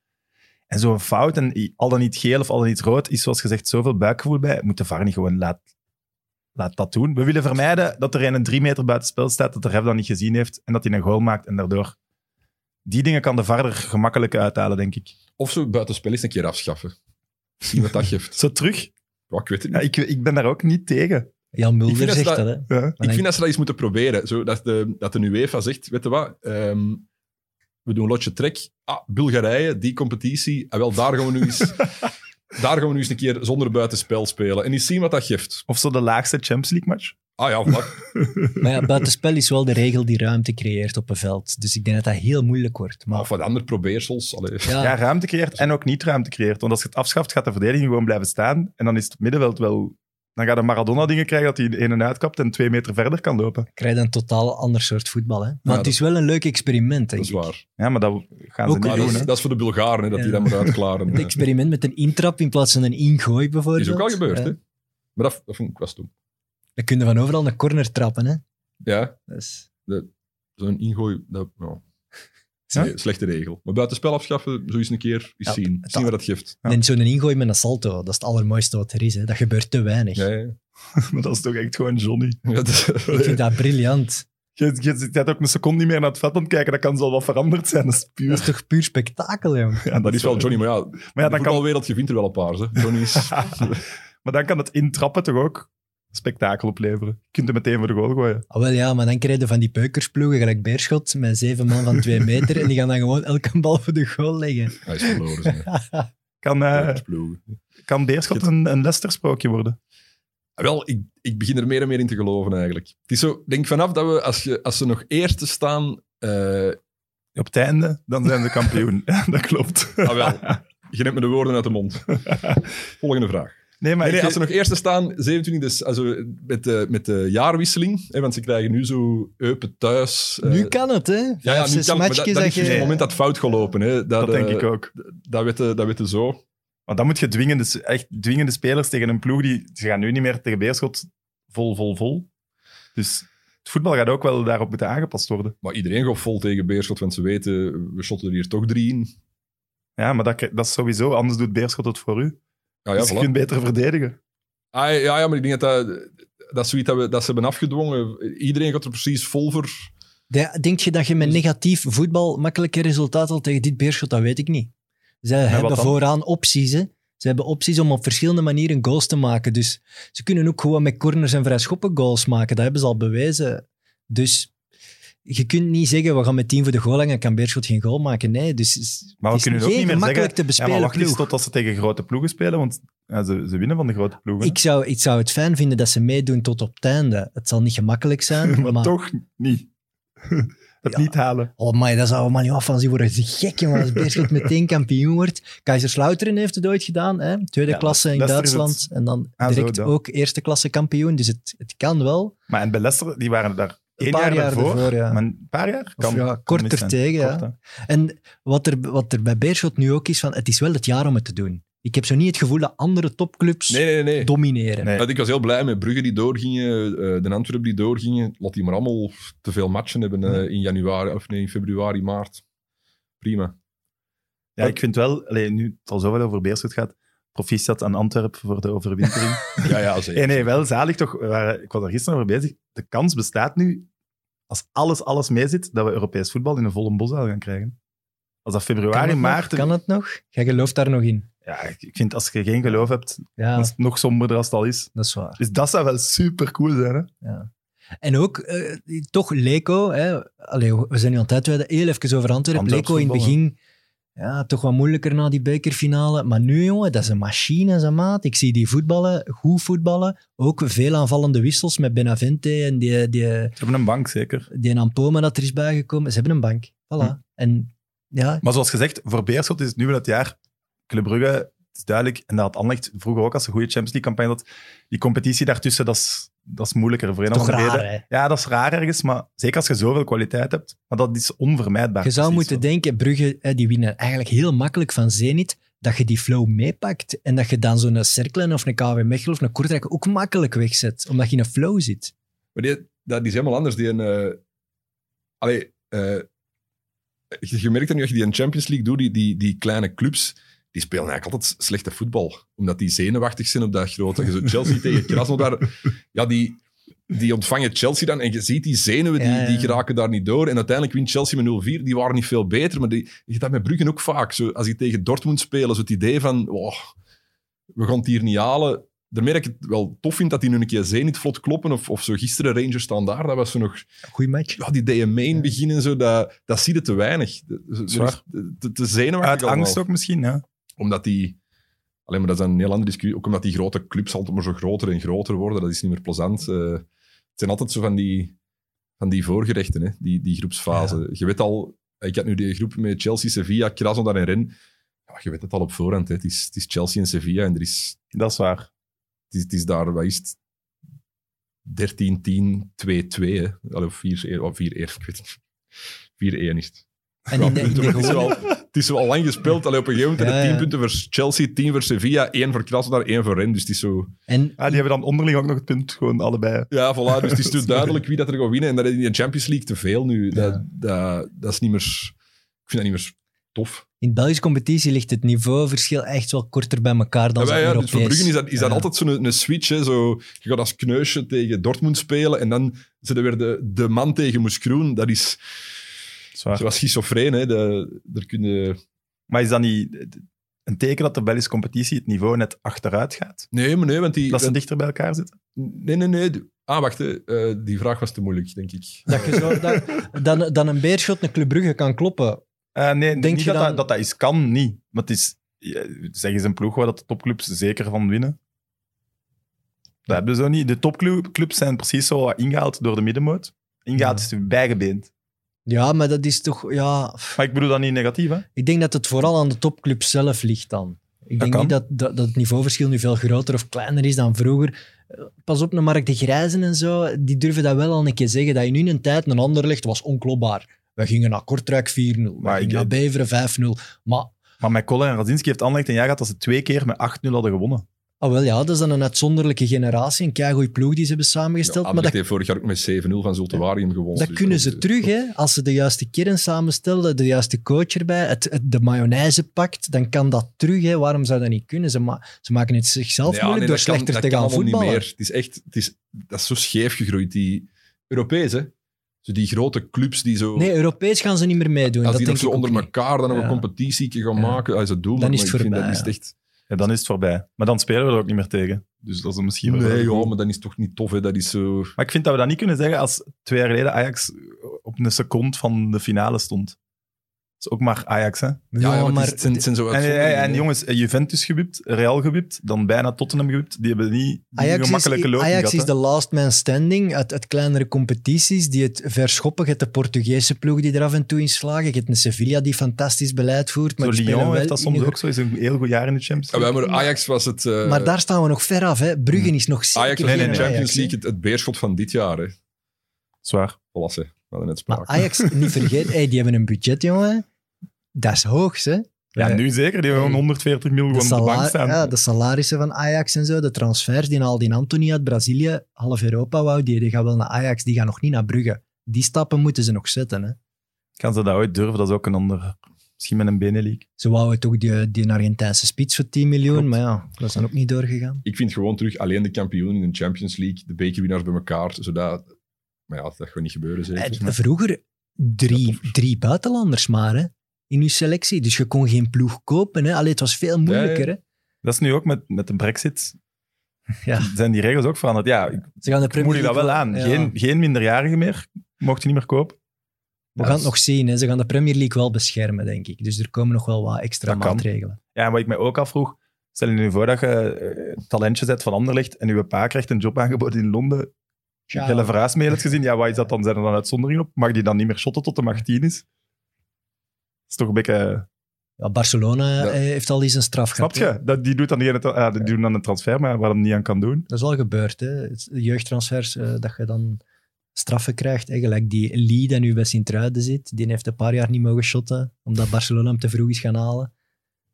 En zo'n fout, en i- al dan niet geel of al dan niet rood, is zoals gezegd zoveel buikgevoel bij. Moet de VAR niet gewoon laat, laat dat doen? We willen vermijden dat er een drie meter buitenspel staat, dat de ref dat niet gezien heeft en dat hij een goal maakt en daardoor... Die dingen kan de VAR er gemakkelijk uithalen, denk ik. Of zo buitenspel eens een keer afschaffen. Zien wat dat geeft. Zo terug? Ja, ik weet het Ja, niet. ik, ik ben daar ook niet tegen. Jan Ik Mulder vind dat zegt ze dat, dat- hè. Ja. Ik vind dat ze dat eens moeten proberen. Zo, dat, de, dat de UEFA zegt, weet je wat, ehm, we doen lotje trek. Ah, Bulgarije, die competitie. Ah, wel, daar gaan we nu eens, daar gaan we nu eens een keer zonder buitenspel spelen. En eens zien wat dat geeft. Of zo de laagste Champions League match. Ah ja, voilà. Maar ja, buitenspel is wel de regel die ruimte creëert op een veld. Dus ik denk dat dat heel moeilijk wordt. Maar, Of wat andere probeersels. Allee. ja, Ja, ruimte creëert en ook niet ruimte creëert. Want als je het afschaft, gaat de verdediging gewoon blijven staan. En dan is het middenveld wel Dan gaat een Maradona-dingen krijgen dat hij in en uitkapt en twee meter verder kan lopen. krijg je een totaal ander soort voetbal. Hè? Maar Ja, het dat- is wel een leuk experiment, Dat denk is ik. waar. Ja, maar dat gaan ze Ook- niet Maar doen. dat, Hè? is, dat is voor de Bulgaren, hè, dat die Ja. dat moet uitklaren. Het Dat experiment met een intrap in plaats van een ingooi, bijvoorbeeld. is ook al gebeurd, Ja. hè. Maar dat, dat vond ik wel stom. Dan kun je van overal een corner trappen, hè. Ja, Dat is- zo'n ingooi, dat, nou, Ja? nee, slechte regel. Maar buitenspel afschaffen, zo eens een keer eens Ja, zien. dat- Zien wat dat geeft. Ja. En zo'n ingooi met een salto, dat is het allermooiste wat er is. Hè. Dat gebeurt te weinig. Ja, ja. Maar dat is toch echt gewoon Johnny. Ja, dat- Ik vind dat briljant. Je, je zit net ook een seconde niet meer naar het vet aan het kijken. Dat kan zo wat veranderd zijn. Dat is Dat puur. is toch puur spektakel, jong. Ja, dat is wel Johnny, maar ja, Maar, ja, de dan kan, voetbalwereld, je vindt er wel een paar. Hè. Johnny is... maar dan kan het intrappen toch ook spektakel opleveren. Je kunt hem meteen voor de goal gooien. Ah, wel ja, maar dan krijg je van die peukersploegen gelijk Beerschot met zeven man van twee meter en die gaan dan gewoon elke bal voor de goal leggen. Hij is verloren. zeg. Kan, eh, Dat is ploegen. kan Deerschot een, een Leicester-sprookje worden? Wel, ik, ik begin er meer en meer in te geloven eigenlijk. Het is zo, ik denk vanaf dat we, als, je, als ze nog eerste staan, eh, Op het einde, dan zijn ze kampioen. Ja, dat klopt. ah wel, je neemt me de woorden uit de mond. Volgende vraag. Nee, maar Nee, nee, ik- als ze nog eerste staan, 27, dus also, met, de, met de jaarwisseling, hè, want ze krijgen nu zo Eupen thuis. eh, nu kan het, hè? Vijf, ja, ja, nu zes kan, maar dat, matchjes dat is juist je... het moment dat fout gelopen. Hè, dat dat denk eh, ik ook. Dat werd, eh, dat werd er zo. Want dan moet je dwingende, echt dwingende spelers tegen een ploeg die... Ze gaan nu niet meer tegen Beerschot vol, vol, vol. Dus het voetbal gaat ook wel daarop moeten aangepast worden. Maar iedereen gaat vol tegen Beerschot, want ze weten, we shotten er hier toch drie in. Ja, maar dat, dat is sowieso... Anders doet Beerschot het voor u. Ah, ja, dus je voilà. kunt beter verdedigen. Ah, ja, ja, maar ik denk dat dat, dat is zoiets dat, we, dat ze hebben afgedwongen. Iedereen gaat er precies vol voor. De- Denk je dat je Dus- met negatief voetbal makkelijke resultaten had tegen dit Beerschot? Dat weet ik niet. Zij hebben wat dan? vooraan opties, hè. Ze hebben opties om op verschillende manieren goals te maken. Dus ze kunnen ook gewoon met corners en vrijschoppen goals maken. Dat hebben ze al bewezen. Dus je kunt niet zeggen, we gaan met 10 voor de goal hangen, kan Beerschot geen goal maken. Nee, dus het is- Maar we het is kunnen ook geen niet meer gemakkelijk zeggen... te Ja, bespelen maar wacht eens ploeg. totdat ze tegen grote ploegen spelen, want ja, ze, ze winnen van de grote ploegen. Ik zou, ik zou het fijn vinden dat ze meedoen tot op het einde. Het zal niet gemakkelijk zijn, maar, maar... toch niet. het Ja. niet halen. Oh man, dat zou allemaal niet af van zien worden. Dat is gek, jongen, als Beerschot meteen kampioen wordt. Kaiserslautern heeft het ooit gedaan, hè? tweede Ja, klasse in Leicester is het. Duitsland. En dan Ah, zo, direct dat. ook eerste klasse kampioen. Dus het, het kan wel. Maar en bij Leicester, die waren daar Een één paar jaar, jaar daarvoor. ervoor, ja. Maar een paar jaar? Of ja, kan korter mis zijn. tegen, ja. Kort, hè. En wat er, wat er bij Beerschot nu ook is, van, het is wel het jaar om het te doen. Ik heb zo niet het gevoel dat andere topclubs Nee, nee, nee. domineren. Nee. Want Ik was heel blij met Brugge die doorgingen, eh de Antwerpen die doorgingen. Laat die maar allemaal te veel matchen hebben eh, in januari, of nee, in februari, maart. Prima. Ja, ik vind wel, allee, nu het al zoveel over Beerschot gaat, proficiat aan Antwerpen voor de overwintering. Ja, ja, nee, zeker. nee, wel zalig toch. We waren- ik was daar gisteren over bezig. De kans bestaat nu, als alles, alles mee zit, dat we Europees voetbal in een volle boszaal gaan krijgen. Als dat Kan februari, het maart... nog? Kan het nog? Jij gelooft daar nog in. Ja, ik vind als je geen geloof hebt, Ja, dan is het nog somberder als het al is. dat is waar. Dus dat zou wel super cool zijn. Hè? En ook, eh, toch, Leko. Hè, allee, we zijn nu aan het uitweiden. Heel even over Antwerpen. Antwerps Leko in het voetbal, begin ja, toch wat moeilijker na die bekerfinale. Maar nu, jongen, dat is een machine, zijn maat. Ik zie die voetballen, goed voetballen. Ook veel aanvallende wissels met Benavente en die, die, Ze hebben een bank, zeker. die Nampoma dat er is bijgekomen. Ze hebben een bank. Voilà. Hm. En ja, Maar zoals gezegd, voor Beerschot is het nu wel het jaar. Club Brugge, het is duidelijk. En dat had Anderlecht vroeger ook, als ze een goede Champions League-campagne had. Die competitie daartussen, dat is, dat is moeilijker voor een toch of andere reden. raar, hè? Ja, dat is raar ergens, maar zeker als je zoveel kwaliteit hebt. Maar dat is onvermijdbaar. Ah, Je zou precies. moeten denken, Brugge, hè, die winnen eigenlijk heel makkelijk van Zenit, dat je die flow meepakt en dat je dan zo'n Cerkelen of een KW Mechelen of een Kortrijk ook makkelijk wegzet, omdat je in een flow zit. Maar die, dat die is helemaal anders. Die een, eh, allee, eh, je, je merkt dat nu als je die in Champions League doet, die, die, die kleine clubs, die spelen eigenlijk altijd slechte voetbal. Omdat die zenuwachtig zijn op dat grote. Je zo Chelsea tegen Krasnodar, ja, die, die ontvangen Chelsea dan en je ziet die zenuwen, die, Ja, ja. die geraken daar niet door. En uiteindelijk wint Chelsea met 0-4. Die waren niet veel beter, maar die, je ziet dat met Bruggen ook vaak. Zo, als die tegen Dortmund spelen, zo het idee van, oh, we gaan het hier niet halen. Daarmee dat ik het wel tof vind dat die nu een keer Zenit vlot kloppen. Of, of zo gisteren Rangers staan daar. Dat was zo nog... Goeie match. Ja, die DMA in het begin en zo, dat, dat zie je te weinig. Dat- dat- Zwaar. dat is Te, te zenuwachtig Uit allemaal. angst ook misschien, ja. Omdat die... Alleen maar dat is een heel andere discussie. Ook omdat die grote clubs altijd maar zo groter en groter worden. Dat is niet meer plezant. Eh, het zijn altijd zo van die, van die voorgerechten, hè? Die, die groepsfase. Je weet al... Ik had nu die groep met Chelsea, Sevilla, Krasnodar en Ren. Ja, je weet het al op voorhand. Hè. Het, is, het is Chelsea en Sevilla en er is Dat is waar. Het is, het is daar, wat is het? 13, 10, 2, 2. Hè? Allee, of 4, 1, of 4, 1, ik weet het niet. 4, 1 is het. En in de, in de Het is, gewone- wel, het is wel lang gespeeld. Allee, op een gegeven moment Ja, hadden 10 ja. punten voor Chelsea, 10 voor Sevilla, 1 voor Krasnodar, 1 voor Rennes. Dus het is zo... en Ah, die hebben dan onderling ook nog het punt, gewoon allebei. Ja, voilà. Dus het is natuurlijk duidelijk wie dat er gaat winnen. En dat is in de Champions League te veel nu. Dat, dat, dat is niet meer... Ik vind dat niet meer tof. in de Belgische competitie ligt het niveauverschil echt wel korter bij elkaar dan Ja, ja, ja, Europees. dus voor Bruggen is dat, is dat Ja. altijd zo'n een switch. Hè, zo, je gaat als kneusje tegen Dortmund spelen en dan zitten weer de, de man tegen Moeskroen. Dat is Zwaar. zoals schizofreen. Hè, de, daar kunnen... Maar is dat niet een teken dat de Belgische competitie het niveau net achteruit gaat? Nee, maar nee, want die... Dat ze want- dichter bij elkaar zitten? Nee, nee, nee. Ah, wacht. Hè. Eh, die vraag was te moeilijk, denk ik. Dat je zo, dat, dan, dan een beerschot een Club Brugge kan kloppen. Eh, nee, Denk niet je dat, dan- dat, dat dat is. Kan niet. Maar het is... eh, Zeg eens een ploeg waar dat de topclubs zeker van winnen. Dat hebben ze zo niet. De topclubs zijn precies zo wat ingehaald door de middenmoot. Ingehaald is bijgebeend. Ja, maar dat is toch... Ja, pff. Maar ik bedoel dat niet negatief, hè? ik denk dat het vooral aan de topclub zelf ligt dan. Ik denk kan. niet dat, dat, dat het niveauverschil nu veel groter of kleiner is dan vroeger. Eh, Pas op, naar Mark de Grijzen en zo, die durven dat wel al een keer zeggen. Dat je nu in een tijd een ander legt, was onklopbaar. We gingen naar Kortrijk 4-0, we Maar gingen ik- naar Beveren 5-0. Maar Maar met Colin en Radzinski heeft Anderlecht een jaar gehad dat ze twee keer met 8-0 hadden gewonnen. Ah, wel ja, dat is dan een uitzonderlijke generatie. Een keigoeie ploeg die ze hebben Ja, samengesteld. maar Anderlecht dat, heeft vorig jaar ook met 7-0 van Zultuarium gewonnen. dat dus kunnen ze eh, terug, hè. Als ze de juiste kern samenstellen, de juiste coach erbij, het, het- de mayonaise pakt, dan kan dat terug, hè. Waarom zou dat niet kunnen? Ze, ma- ze maken het zichzelf Ja, moeilijk nee, door dat kan- slechter dat te kan gaan allemaal niet voetballen. meer. Het is echt, het is, dat is zo scheef gegroeid. Die Europees, hè? Zo die grote clubs die zo. Nee, Europees gaan ze niet meer meedoen. als Dat die nog denk zo ik ook onder niet. elkaar dan nog Ja. een competitie gaan Ja. maken, als ze doen. Dan is maar het ik vind voorbij, dat is echt. Ja, dan is het voorbij. Maar dan spelen we er ook niet meer tegen. Dus dat is misschien wel- Nee, joh, maar dat is toch niet tof, hè? Dat is zo. Maar ik vind dat we dat niet kunnen zeggen als twee jaar geleden Ajax op een seconde van de finale stond. Dat is ook maar Ajax, hè? Ja, ja, Ja, maar het is- maar het zijn, het zijn zo En, en, uitzonderingen, en hè. jongens, eh, Juventus gewipt, Real gewipt, dan bijna Tottenham gewipt. Die hebben niet die Ajax is, gemakkelijke loop Ajax gehad. is hè. de last man standing uit, uit kleinere competities die het verschoppen. Je hebt de Portugese ploeg die er af en toe in slagen. Je hebt een Sevilla die fantastisch beleid voert. Maar Zo die spelen Lyon wel heeft dat soms in een ook zo. Is een heel goed jaar in de Champions Ja, League. wij, maar Ajax was het. eh, Maar daar staan we nog ver af. Hè. Bruggen is nog zeker Ajax was Nee, in nee, de nee. geen Champions Ajax, hè. League het, het beerschot van dit jaar, hè? Zwaar. Klasse. We hadden net Maar spraak. Ajax, niet vergeten, hey, die hebben een budget, jongen. Dat is hoog, hè. Ja, Eh, nu zeker. Die hebben eh, gewoon 140 miljoen de, gewoon op de bank sala- staan. ja, de salarissen van Ajax en zo, de transfers die al die Anthony uit Brazilië, half Europa wou, die, die gaan wel naar Ajax, die gaan nog niet naar Brugge. Die stappen moeten ze nog zetten. Hè. Gaan ze dat ooit durven? Dat is ook een ander. Misschien met een Benelink. Ze wouden toch die, die Argentijnse spits voor 10 miljoen, Klopt. maar ja, dat is dan ook niet doorgegaan. Ik vind gewoon terug alleen de kampioenen in de Champions League, de bekerwinnaars bij elkaar, zodat... Maar ja, dat gaat niet gebeuren, zeker. Eh, vroeger drie, drie buitenlanders maar hè, in uw selectie, dus je kon geen ploeg kopen. Hè. Allee, het was veel moeilijker. Hè. Dat is nu ook met, met de brexit. Ja. Zijn die regels ook veranderd? Ja, ik Ze gaan de Premier moet je dat League wel aan. ja. Geen, geen minderjarigen meer. Mocht je niet meer kopen. We gaan het nog zien. Hè. Ze gaan de Premier League wel beschermen, denk ik. Dus er komen nog wel wat extra Dat kan. maatregelen. Ja, en wat ik mij ook afvroeg, stel je nu voor dat je eh, het talentje zet van Anderlecht en je pa krijgt een job aangeboden in Londen. Ciao. Hele verhuismail het gezien. Ja, wat is dat dan? Zijn er dan uitzonderingen op? Mag die dan niet meer shotten tot de Martin is? Dat is toch een beetje... Ja, Barcelona Ja. eh, heeft al eens een straf Snap gehad. hè. je? Dat, die, doet dan diegene, ah, die doen dan een transfer, maar waar hem niet aan kan doen. Dat is al gebeurd. Hè. Het- Jeugdtransfers, eh, dat je dan straffen krijgt. hè. Gelijk die Lee die nu bij Sint-Truiden zit, die heeft een paar jaar niet mogen shotten, omdat Barcelona hem te vroeg is gaan halen.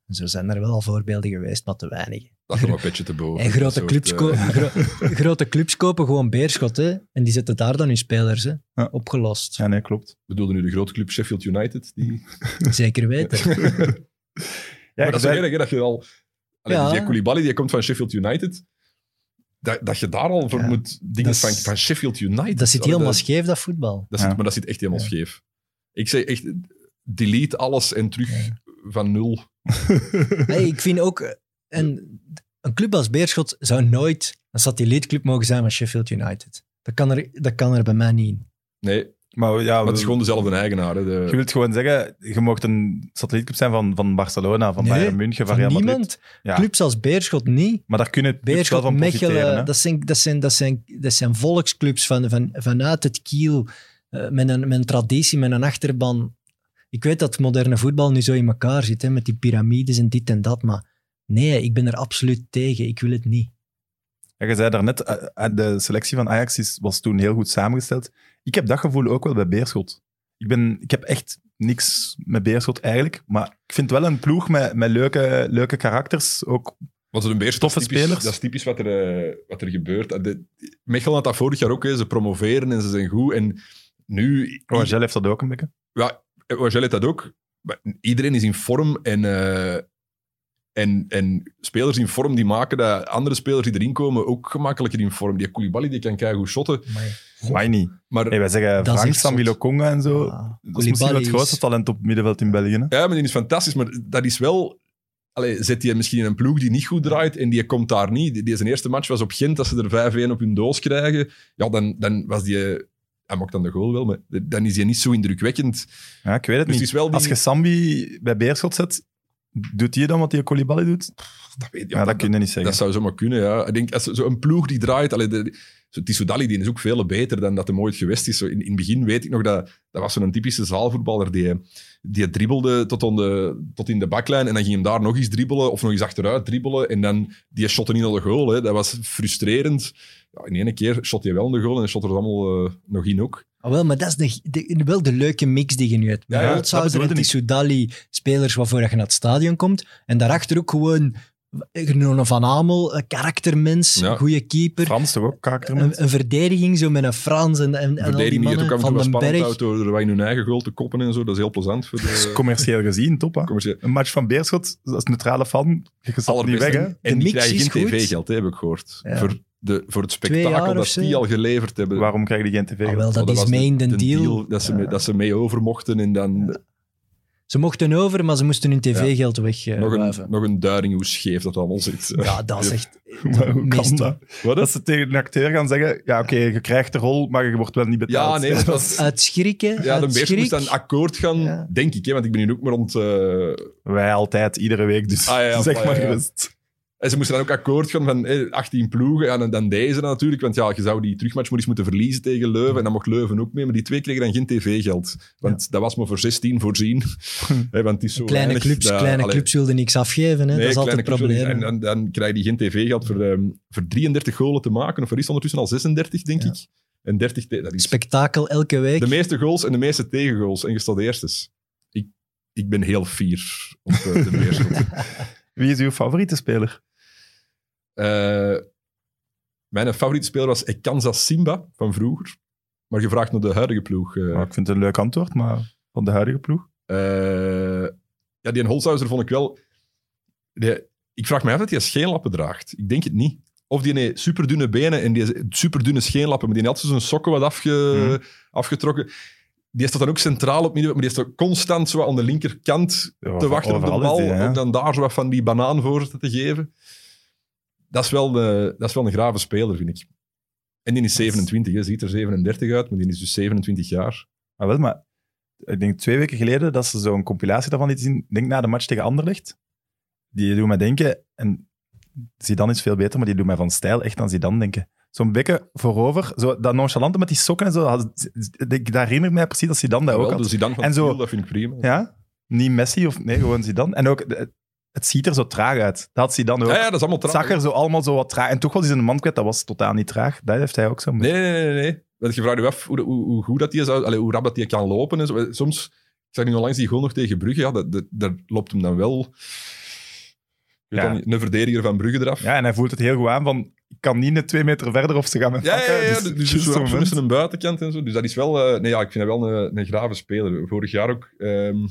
En zo zijn er wel al voorbeelden geweest, maar te weinig. Dat gaat een petje te boven. En Dat grote soort, clubs, eh, ko- gro- grote clubs kopen gewoon beerschot, hè. En die zetten daar dan hun spelers, hè. Ja. Opgelost. Ja, nee, klopt. bedoelde nu de grote club Sheffield United. Die... Zeker weten. Ja, maar dat is ik wel zei- erg, hè, dat je al... Allee, Ja. Die Koulibaly, die komt van Sheffield United. Dat, dat je daar al voor Ja. moet... Dingen Dat is- van, van Sheffield United. Dat zit Allee, helemaal dat, scheef, dat voetbal. dat zit- Ja. Maar dat zit echt helemaal Ja. scheef. Ik zeg echt, delete alles en terug van nul. Nee, ik vind ook... eh, Een, een club als Beerschot zou nooit een satellietclub mogen zijn van Sheffield United. Dat kan er, dat kan er bij mij niet in. Nee, maar ja, maar het is gewoon dezelfde eigenaar. Hè, de- je wilt gewoon zeggen, je mocht een satellietclub zijn van, van Barcelona, van Nee, Bayern München, van, Van Real Madrid. niemand. Ja. Clubs als Beerschot niet. Maar daar kunnen clubs wel Beerschot, van profiteren. hè. Mechelen, dat zijn, dat, zijn, dat, zijn, dat zijn volksclubs van, van, vanuit het kiel. eh, met, een, met een traditie, met een achterban. Ik weet dat moderne voetbal nu zo in elkaar zit, hè, met die piramides en dit en dat. Maar nee, ik ben er absoluut tegen. Ik wil het niet. Ja, je zei daarnet, eh, eh, de selectie van Ajax is, was toen heel goed samengesteld. Ik heb dat gevoel ook wel bij Beerschot. Ik, ben, ik heb echt niks met Beerschot eigenlijk, maar ik vind wel een ploeg met, met leuke, leuke karakters. Ook, Want een beerschot Toffe dat is typisch- spelers. Dat is typisch wat er, eh, wat er gebeurt. Eh, De, Mechelen had dat vorig jaar ook. hè. Ze promoveren en ze zijn goed. En nu... Roagel heeft dat ook een beetje. Eh, Wagel heeft dat ook. Maar iedereen is in vorm en, eh, en, en spelers in vorm die maken dat andere spelers die erin komen ook gemakkelijker in vorm. Die Koulibaly die kan keigoed shotten. Maar, Why niet? Maar, Nee, wij zeggen Dat is Frank, echt zot. Sambi Konga en zo. ah, dat is misschien wel het Koulibaly grootste talent op middenveld in België. hè? ja, maar die is fantastisch, maar dat is wel... Allee, zet je misschien in een ploeg die niet goed draait en die komt daar niet. Die, die zijn eerste match was op Gent, dat ze er 5-1 op hun doos krijgen. Ja, dan, dan was die... eh, Hij maakt dan de goal wel, maar dan is hij niet zo indrukwekkend. Ja, ik weet het Dus het niet. is wel die... Als je Sambi bij Beerschot zet, doet hij dan wat die Koulibaly doet? dat weet, Ja, dat kun je niet zeggen. Dat zou zomaar kunnen, ja. Ik denk, als zo- zo'n ploeg die draait... Allee, de, zo Tissoudali, die is ook veel beter dan dat hem ooit geweest is. Zo, in, in het begin weet ik nog, dat, dat was zo'n typische zaalvoetballer. Die, die dribbelde tot, on de, tot in de baklijn en dan ging hem daar nog eens dribbelen of nog eens achteruit dribbelen. En dan, die shotte niet naar de goal. Hè. Dat was frustrerend. Ja, in ene keer shot hij wel naar de goal en shot er allemaal eh, nog in ook. Ah, wel, maar dat is de, de- wel de leuke mix die je nu hebt. Met Ja, ja, dat Holzhauser en bedoelde ik. Tissoudali, spelers waarvoor je naar het stadion komt. En daarachter ook gewoon Gnone van Amel, een karaktermens, Ja. een goede keeper. Frans toch ook, karaktermens? Een, een verdediging zo met een Frans en, en, en al die Verdediging die het ook mannen van den af en toe wel spannend Berg. houdt door er wat in hun eigen goal te koppen en zo. Dat is heel plezant voor Dat is de... commercieel gezien, top hè? commerciële- Een match van Beerschot, als neutrale fan, je stapt niet Allerbeste. weg hè? De En die mix krijgen is geen goed. tv-geld, hè, heb ik gehoord. Ja. Voor, de, voor het jaar spektakel of dat zo. die al geleverd hebben. Waarom krijg je geen tv? Ah, wel, Want dat, is was mee in de, de deal. dat, ze Ja. mee, dat ze mee over mochten en dan Ze mochten over, maar ze moesten hun tv-geld nog, wegwuiven. een, nog een duiding hoe scheef dat allemaal zit. ja, dat is echt... Maar hoe kan meestal. dat? Wat Dat is ze tegen een acteur gaan zeggen, ja oké, je krijgt de rol, maar je wordt wel niet betaald. Ja, nee, dat was... Uit schrikken, Ja, de uit beest schrik. moest dan akkoord gaan, Ja. denk ik. Hè, want ik ben hier ook maar rond... eh, Wij altijd, iedere week, dus Ah, ja, zeg ja, maar ja. gerust. En ze moesten dan ook akkoord gaan van eh, 18 ploegen. Ja, en dan deze dan natuurlijk, want ja, je zou die terugmatch maar eens moeten verliezen tegen Leuven. En dan mocht Leuven ook mee, maar die twee kregen dan geen tv-geld. Want dat was maar voor 16 voorzien. Hè, want het is zo Kleine weinig clubs, dat- kleine allee, clubs wilden niks afgeven. Hè. nee, dat is altijd kleine het clubs probleem. En dan, dan krijg je geen tv-geld voor, ehm, voor 33 golen te maken. Of er is ondertussen al 36, denk Ja. ik. En 30, te- dat is Spektakel elke week. de meeste goals en de meeste tegengoals. En je staat eerstes. Ik, ik ben heel fier op eh, de Beerschot. Wie is uw favoriete speler? Eh, mijn favoriete speler was Ekanza Simba van vroeger. Maar gevraagd naar de huidige ploeg. eh. Nou, ik vind het een leuk antwoord, maar van de huidige ploeg. Eh, ja, die in Holzhauser vond ik wel... die- ik vraag me af dat hij scheenlappen draagt. Ik denk het niet. Of die heeft superdunne benen en die superdunne scheenlappen. Maar die had altijd zijn sokken wat afge, Mhm. afgetrokken. Die staat dan ook centraal op midden, maar die staat constant zo aan de linkerkant Ja, te wachten op de overal is bal. die, hè? om dan daar zo wat van die banaan voor te geven. Dat is wel, eh, dat is wel een grave speler, vind ik. En die is 27, hè. ziet er 37 uit, maar die is dus 27 jaar. Maar wel, maar ik denk twee weken geleden dat ze zo'n compilatie daarvan lieten zien. Ik denk na de match tegen Anderlecht. Die doen mij denken, en Zidane is veel beter, maar die doen mij van stijl echt aan Zidane denken. Zo'n bekken voorover, zo, dat nonchalante met die sokken en zo. Dat, ik, dat herinnert mij precies dat Zidane dat ook Wel, had. dus die dan van En zo- Tiel, dat vind ik prima. Ja? Niet Messi, of nee, gewoon Zidane. En ook, de- het ziet er zo traag uit. Dat had Zidane ook. Ja, ja, dat is allemaal het traag. zag er zo allemaal zo wat traag. En toch was hij zijn man kwijt, dat was totaal niet traag. Dat heeft hij ook zo. Nee, nee, nee. nee, nee. Want je vraagt je af hoe, hoe, hoe goed dat die is, allee, hoe rap dat die kan lopen. En zo. Eh, Soms, ik zag nu onlangs die goal nog tegen Brugge, ja, dat, dat- daar loopt hem dan wel ik weet Ja. dan niet, een verdediger van Brugge eraf. Ja, en hij voelt het heel goed aan van, ik kan niet net twee meter verder of ze gaan me Ja, ja, pakken. ja, ja. Dus Dus, juist dus zo'n zo moment. tussen een buitenkant en zo. Dus dat is wel... eh, nee, ja, ik vind dat wel een, een grave speler. Vorig jaar ook... ehm,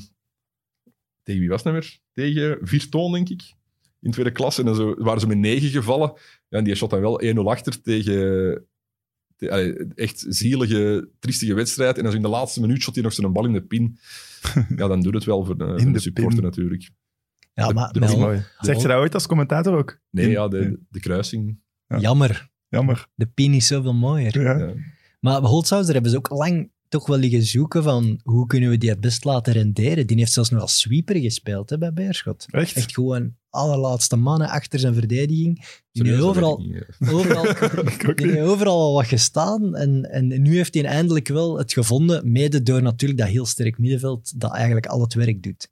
tegen wie was het nou weer? Tegen Virton, denk ik. In tweede klasse. En dan zo, waren ze met negen gevallen. Ja, en die shot dan wel 1-0 achter tegen... te- allee, echt zielige, triestige wedstrijd. En dan zo in de laatste minuut shot hij nog zo'n bal in de pin. ja, dan doet het wel voor de, voor de de supporter pin. natuurlijk. ja, de- maar de- Dat is wel, mooi. Zegt je dat ooit als commentator ook? Nee, In- ja, de, de kruising. ja. jammer. Jammer. De pin is zoveel mooier. Ja. Ja. Maar Holzhauser hebben ze ook lang toch wel liggen zoeken van hoe kunnen we die het best laten renderen. Die heeft zelfs nog als sweeper gespeeld hè, bij Beerschot. Echt? Echt gewoon allerlaatste mannen achter zijn verdediging. Die Serieus, heeft dat overal, weet ik niet, eh. overal, Ik ook die niet. heeft overal al wat gestaan. En, en nu heeft hij eindelijk wel het gevonden, mede door natuurlijk dat heel sterk middenveld dat eigenlijk al het werk doet.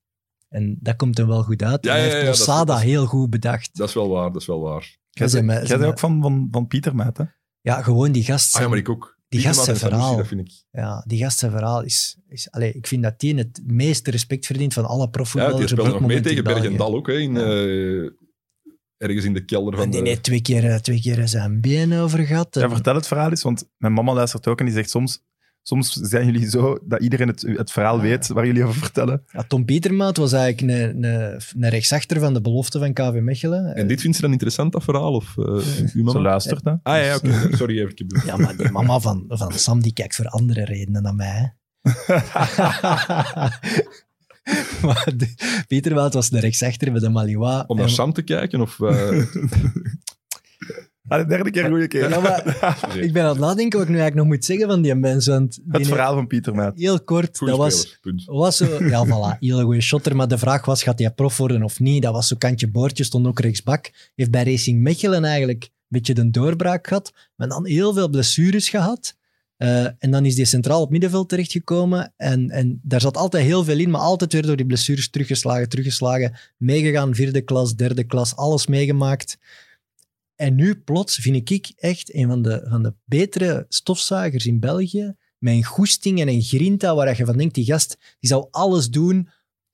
En dat komt hem wel goed uit. Ja, En hij ja, heeft ja, dat is- Losada dat is- heel goed bedacht. Dat is wel waar, dat is wel waar. Jij zijn mij- bent- jij zijn bent ook van, van, van Pieter, maat, hè? Ja, gewoon die gast. Ah ja, maar ik ook. Die gast gasten zijn verhaal. Dat vind ik. Ja, die gast zijn verhaal is... is allee, ik vind dat die het meeste respect verdient van alle Ja, die profvoetballers op speelde dat nog mee moment tegen in België. Bergendal ook, hè, in, eh, ergens in de kelder van En die de... heeft twee keer, eh, twee keer zijn been over gehad. Ja, En- vertel het verhaal eens, want mijn mama luistert ook en die zegt soms... Soms zijn jullie zo dat iedereen het, het verhaal Ja. weet waar jullie over vertellen. Ja, Tom Pietermaat was eigenlijk een, een, een rechtsachter van de belofte van KV Mechelen. En dit vindt ze dan interessant, dat verhaal? Of, eh, uw Ze mama? luistert, hè? Ah ja, oké. Sorry, even. ik heb- Ja, maar die mama van, van Sam die kijkt voor andere redenen dan mij. hè. maar de- Pieter Wout was de rechtsachter bij de Malinois. Om naar En- Sam te kijken? Of, eh, Ah, de derde keer een goede keer. Ja, maar ik ben aan het nadenken wat ik nu eigenlijk nog moet zeggen van die mensen. want die Het heeft- verhaal van Pieter, maat. Heel kort, goeie dat was... speler, punt. Was zo, ja, voilà, hele goede shotter. Maar de vraag was, gaat hij prof worden of niet? Dat was zo kantje boordje, stond ook rechtsbak. Heeft bij Racing Mechelen eigenlijk een beetje de doorbraak gehad. Maar dan heel veel blessures gehad. Eh, en dan is hij centraal op middenveld terechtgekomen. En, en daar zat altijd heel veel in, maar altijd weer door die blessures teruggeslagen, teruggeslagen. Meegegaan, vierde klas, derde klas, alles meegemaakt. En nu plots vind ik echt een van de, van de betere stofzuigers in België. Met een goesting en een grinta waar je van denkt, die gast die zou alles doen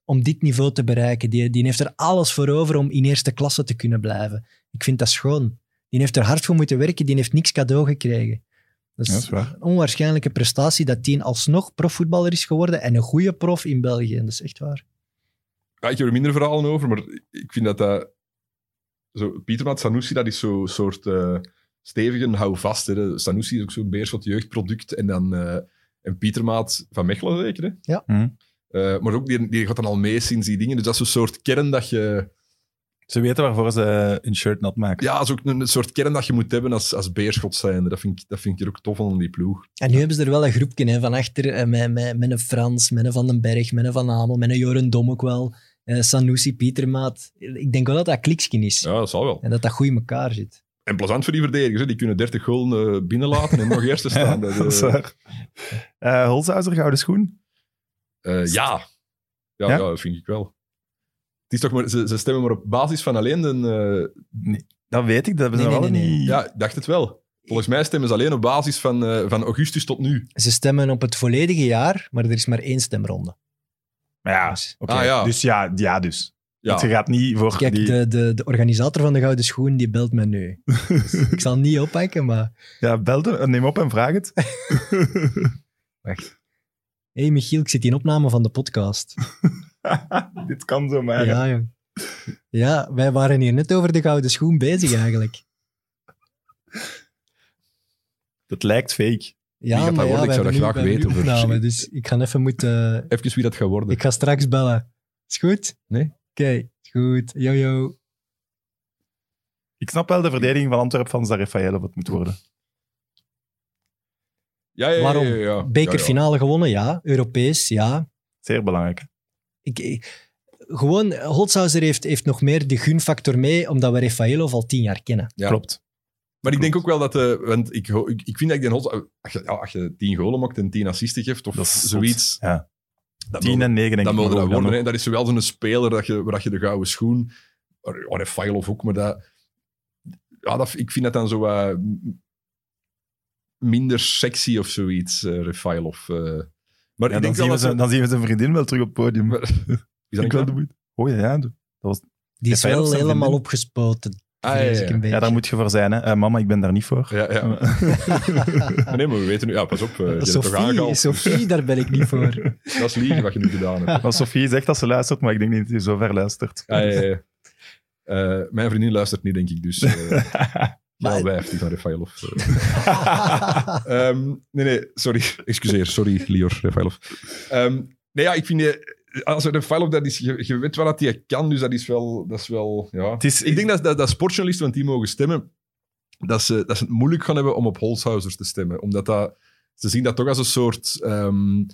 om dit niveau te bereiken. Die, die heeft er alles voor over om in eerste klasse te kunnen blijven. Ik vind dat schoon. Die heeft er hard voor moeten werken, die heeft niks cadeau gekregen. Dat is, Ja, dat is waar. een onwaarschijnlijke prestatie dat die alsnog profvoetballer is geworden en een goede prof in België. En dat is echt waar. Ja, Ah, ik heb er minder verhalen over, maar ik vind dat dat... Zo, Pietermaat Sanusi, dat is zo'n soort eh, stevige houvast. Hè. Sanusi is ook zo'n beerschot jeugdproduct. En dan eh, en Pietermaat van Mechelen zeker, hè? Ja. Mhm. Eh, maar ook die, die gaat dan al mee sinds die dingen. Dus dat is zo'n soort kern dat je... Ze weten waarvoor ze een shirt nat maken. Ja, dat is ook een, een soort kern dat je moet hebben als, als beerschot zijnde. Dat vind, ik, dat vind ik er ook tof aan die ploeg. En nu hebben ze er wel een groepje hè, van achter eh, met, met, met een Frans, met een Van den Berg, met een Van Hamel, met een Joren Dom ook wel, eh, Sanusi, Pietermaat. Ik denk wel dat dat klikskin is Ja, dat zal wel. en dat dat goed in elkaar zit. En plezant voor die verdedigers. Hè. Die kunnen 30 goal binnenlaten en nog eerste Ja, staan. Dat, eh, dat is waar. Eh, Holzhauser, gouden schoen. Eh, ja. Ja, Ja? ja? dat vind ik wel. Het is toch maar, ze, ze stemmen maar op basis van alleen de... eh, Dat weet ik, dat hebben ze Nee, wel nee, nee, nee. niet... ja, ik dacht het wel. Volgens mij stemmen ze alleen op basis van, eh, van augustus tot nu. Ze stemmen op het volledige jaar, maar er is maar één stemronde. Maar ja, Dus oké. Ah, ja. Dus ja, ja dus. Ja, Want je gaat niet voor Kijk, die... de, de, de organisator van de Gouden Schoen, die belt me nu. Dus ik zal niet oppakken, maar... Ja, bel hem, neem op en vraag het. Hé, hey Michiel, ik zit in opname van de podcast. Dit kan zomaar. hè. Ja, jong. Ja, wij waren hier net over de gouden schoen bezig eigenlijk. Dat lijkt fake. Ja, gaat dat maar ja, worden? wij Ik zou hebben dat graag nu- wij hebben weten, nu hoor. opname, dus ik ga even moeten... even wie dat gaat worden. Ik ga straks bellen. Is goed? Nee. Oké, is goed. Yo, yo. Ik snap wel de verdediging van Antwerpen van Zarafael, wat moet worden. Ja, ja, ja, Waarom? ja, ja. Ja, Bekerfinale gewonnen, ja. Europees, ja. Zeer belangrijk. ik, ik- gewoon, Holzhauser heeft, heeft nog meer de gunfactor mee, omdat we Refaelov al tien jaar kennen. Ja. Klopt. ja. Maar ik denk ook wel dat... eh, want ik, ho- ik, ik vind dat ik den Hot... Als je, ja, als je tien golen maakt en tien assisten geeft of Dat is zoiets... zot. Ja. Dat 10 en 9 denk ik. dat mogen maar dat ook worden. dan hè. Dat is zowel zo'n speler dat je, waar dat je de gouden schoen... Oh, dat file of ook, maar dat... Ja, dat, ik vind dat dan zo wat m- minder sexy of zoiets, uh, Refailov. eh. maar nog. Ja, ik dan, denk zien wel we dat... ze- zijn, dan zien we zijn vriendin wel terug op het podium. Maar- Is dat ik wel niet waar? de moeite. Oh ja, ja. Die is Refaelov wel zijn helemaal vriendin. opgespoten. Ah, ja, vrees ja, ik ja. een beetje. ja, daar moet je voor zijn. Hè. Eh, mama, ik ben daar niet voor. Ja, ja. Maar nee, maar we weten nu... Ja, pas op. eh, je hebt het toch Sophie, aangehaald. Sophie, daar ben ik niet voor. Dat is liegen wat je nu gedaan hebt. Maar Sofie zegt dat ze luistert, maar ik denk niet dat ze zo ver luistert. Ah, ja, ja, ja. Eh, mijn vriendin luistert niet, denk ik, dus... eh Maar- ja, wijf die van Refailov. eh. Ehm, nee, nee, sorry. Excuseer, sorry, Lior Refailov. Ehm, nee, ja, ik vind... eh, Als Refailov, dat is... Je, je weet wel dat hij kan, dus dat is wel... Dat is wel ja. Het is, Ik denk dat, dat, dat sportjournalisten, want die mogen stemmen, dat ze, dat ze het moeilijk gaan hebben om op Holzhausers te stemmen. Omdat dat, ze zien dat toch als een soort ehm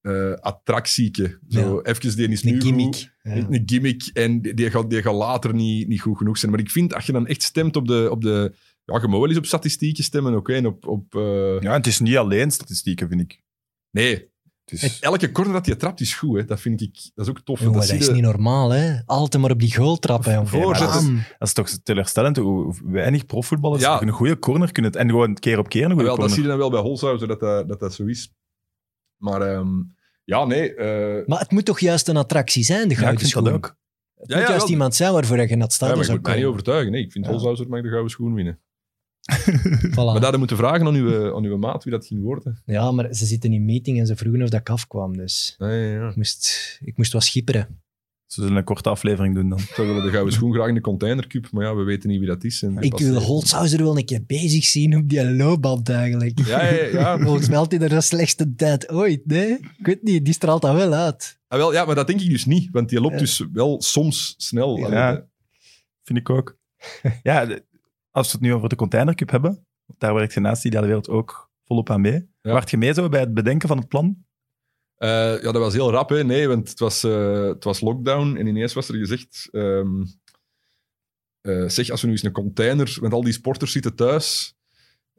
eh, attractieke. Zo, Even, die is nu Een goed. gimmick. Ja. Een gimmick en die- die gaat, die gaat later niet, niet goed genoeg zijn. Maar ik vind, als je dan echt stemt op de... Op de ja, je mag wel eens op statistieken stemmen, oké. en op... op eh, Ja, en het is niet alleen statistieken, vind ik. Nee. Het Het- is, Elke corner dat je trapt is goed, hè. dat vind ik. Dat is ook tof. Jongen, dat dat zie is je- niet normaal, hè. Altijd maar op die goal trappen. jongen. Voorzet. Bam. Dat is toch teleurstellend hoe hoe weinig profvoetballers Ja. toch een goede corner kunnen. En gewoon keer op keer een goede Wel, dat corner. zie je dan wel bij Holshouser dat dat, dat, dat zo is. Maar ehm, ja, nee. eh, Maar het moet toch juist een attractie zijn, ja, de ik gouden vind dat schoen? ook. Het Ja, moet ja, juist wel. iemand zijn waarvoor je naar het ja, stadion maar ik zou moet mij niet komen. overtuigen. Nee, ik vind Ja. Holshouser mag de gouden schoen winnen. Voilà. Maar dat hadden we moeten vragen aan uw, aan uw maat wie dat ging worden. Ja, maar ze zitten in meeting en ze vroegen of dat ik afkwam, dus... Ja, ja, ja. Ik moest, ik moest wat schipperen. Ze zullen een korte aflevering doen dan. Ze willen de gouden schoen graag in de containercup, maar ja, we weten niet wie dat is. En dat ik past wil niet. Holzhauser wel een keer bezig zien op die loopband eigenlijk. Ja, ja, ja. Volgens mij had hij er de slechtste tijd ooit, nee? Ik weet niet, die straalt dat wel uit. Ah, wel, ja, maar dat denk ik dus niet, want die loopt Ja. dus wel soms snel. Ja. Allee, eh, Vind ik ook. ja, de- als we het nu over de containercup hebben, daar werkt je naast die ideale wereld ook volop aan mee. Ja. Waart je mee zo bij het bedenken van het plan? Eh, ja, dat was heel rap, hè? Nee, want het was, eh, het was lockdown en ineens was er gezegd: ehm, eh, zeg, als we nu eens een container, want al die sporters zitten thuis.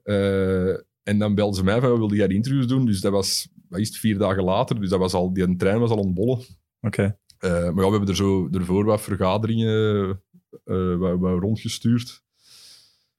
eh, en dan belden ze mij van: wilde jij die interviews doen? Dus dat was, wat is het, vier dagen later. Dus dat was al, die trein was al ontbollen. Oké. Eh, maar ja, we hebben er zo ervoor wat vergaderingen eh, wat- wat rondgestuurd.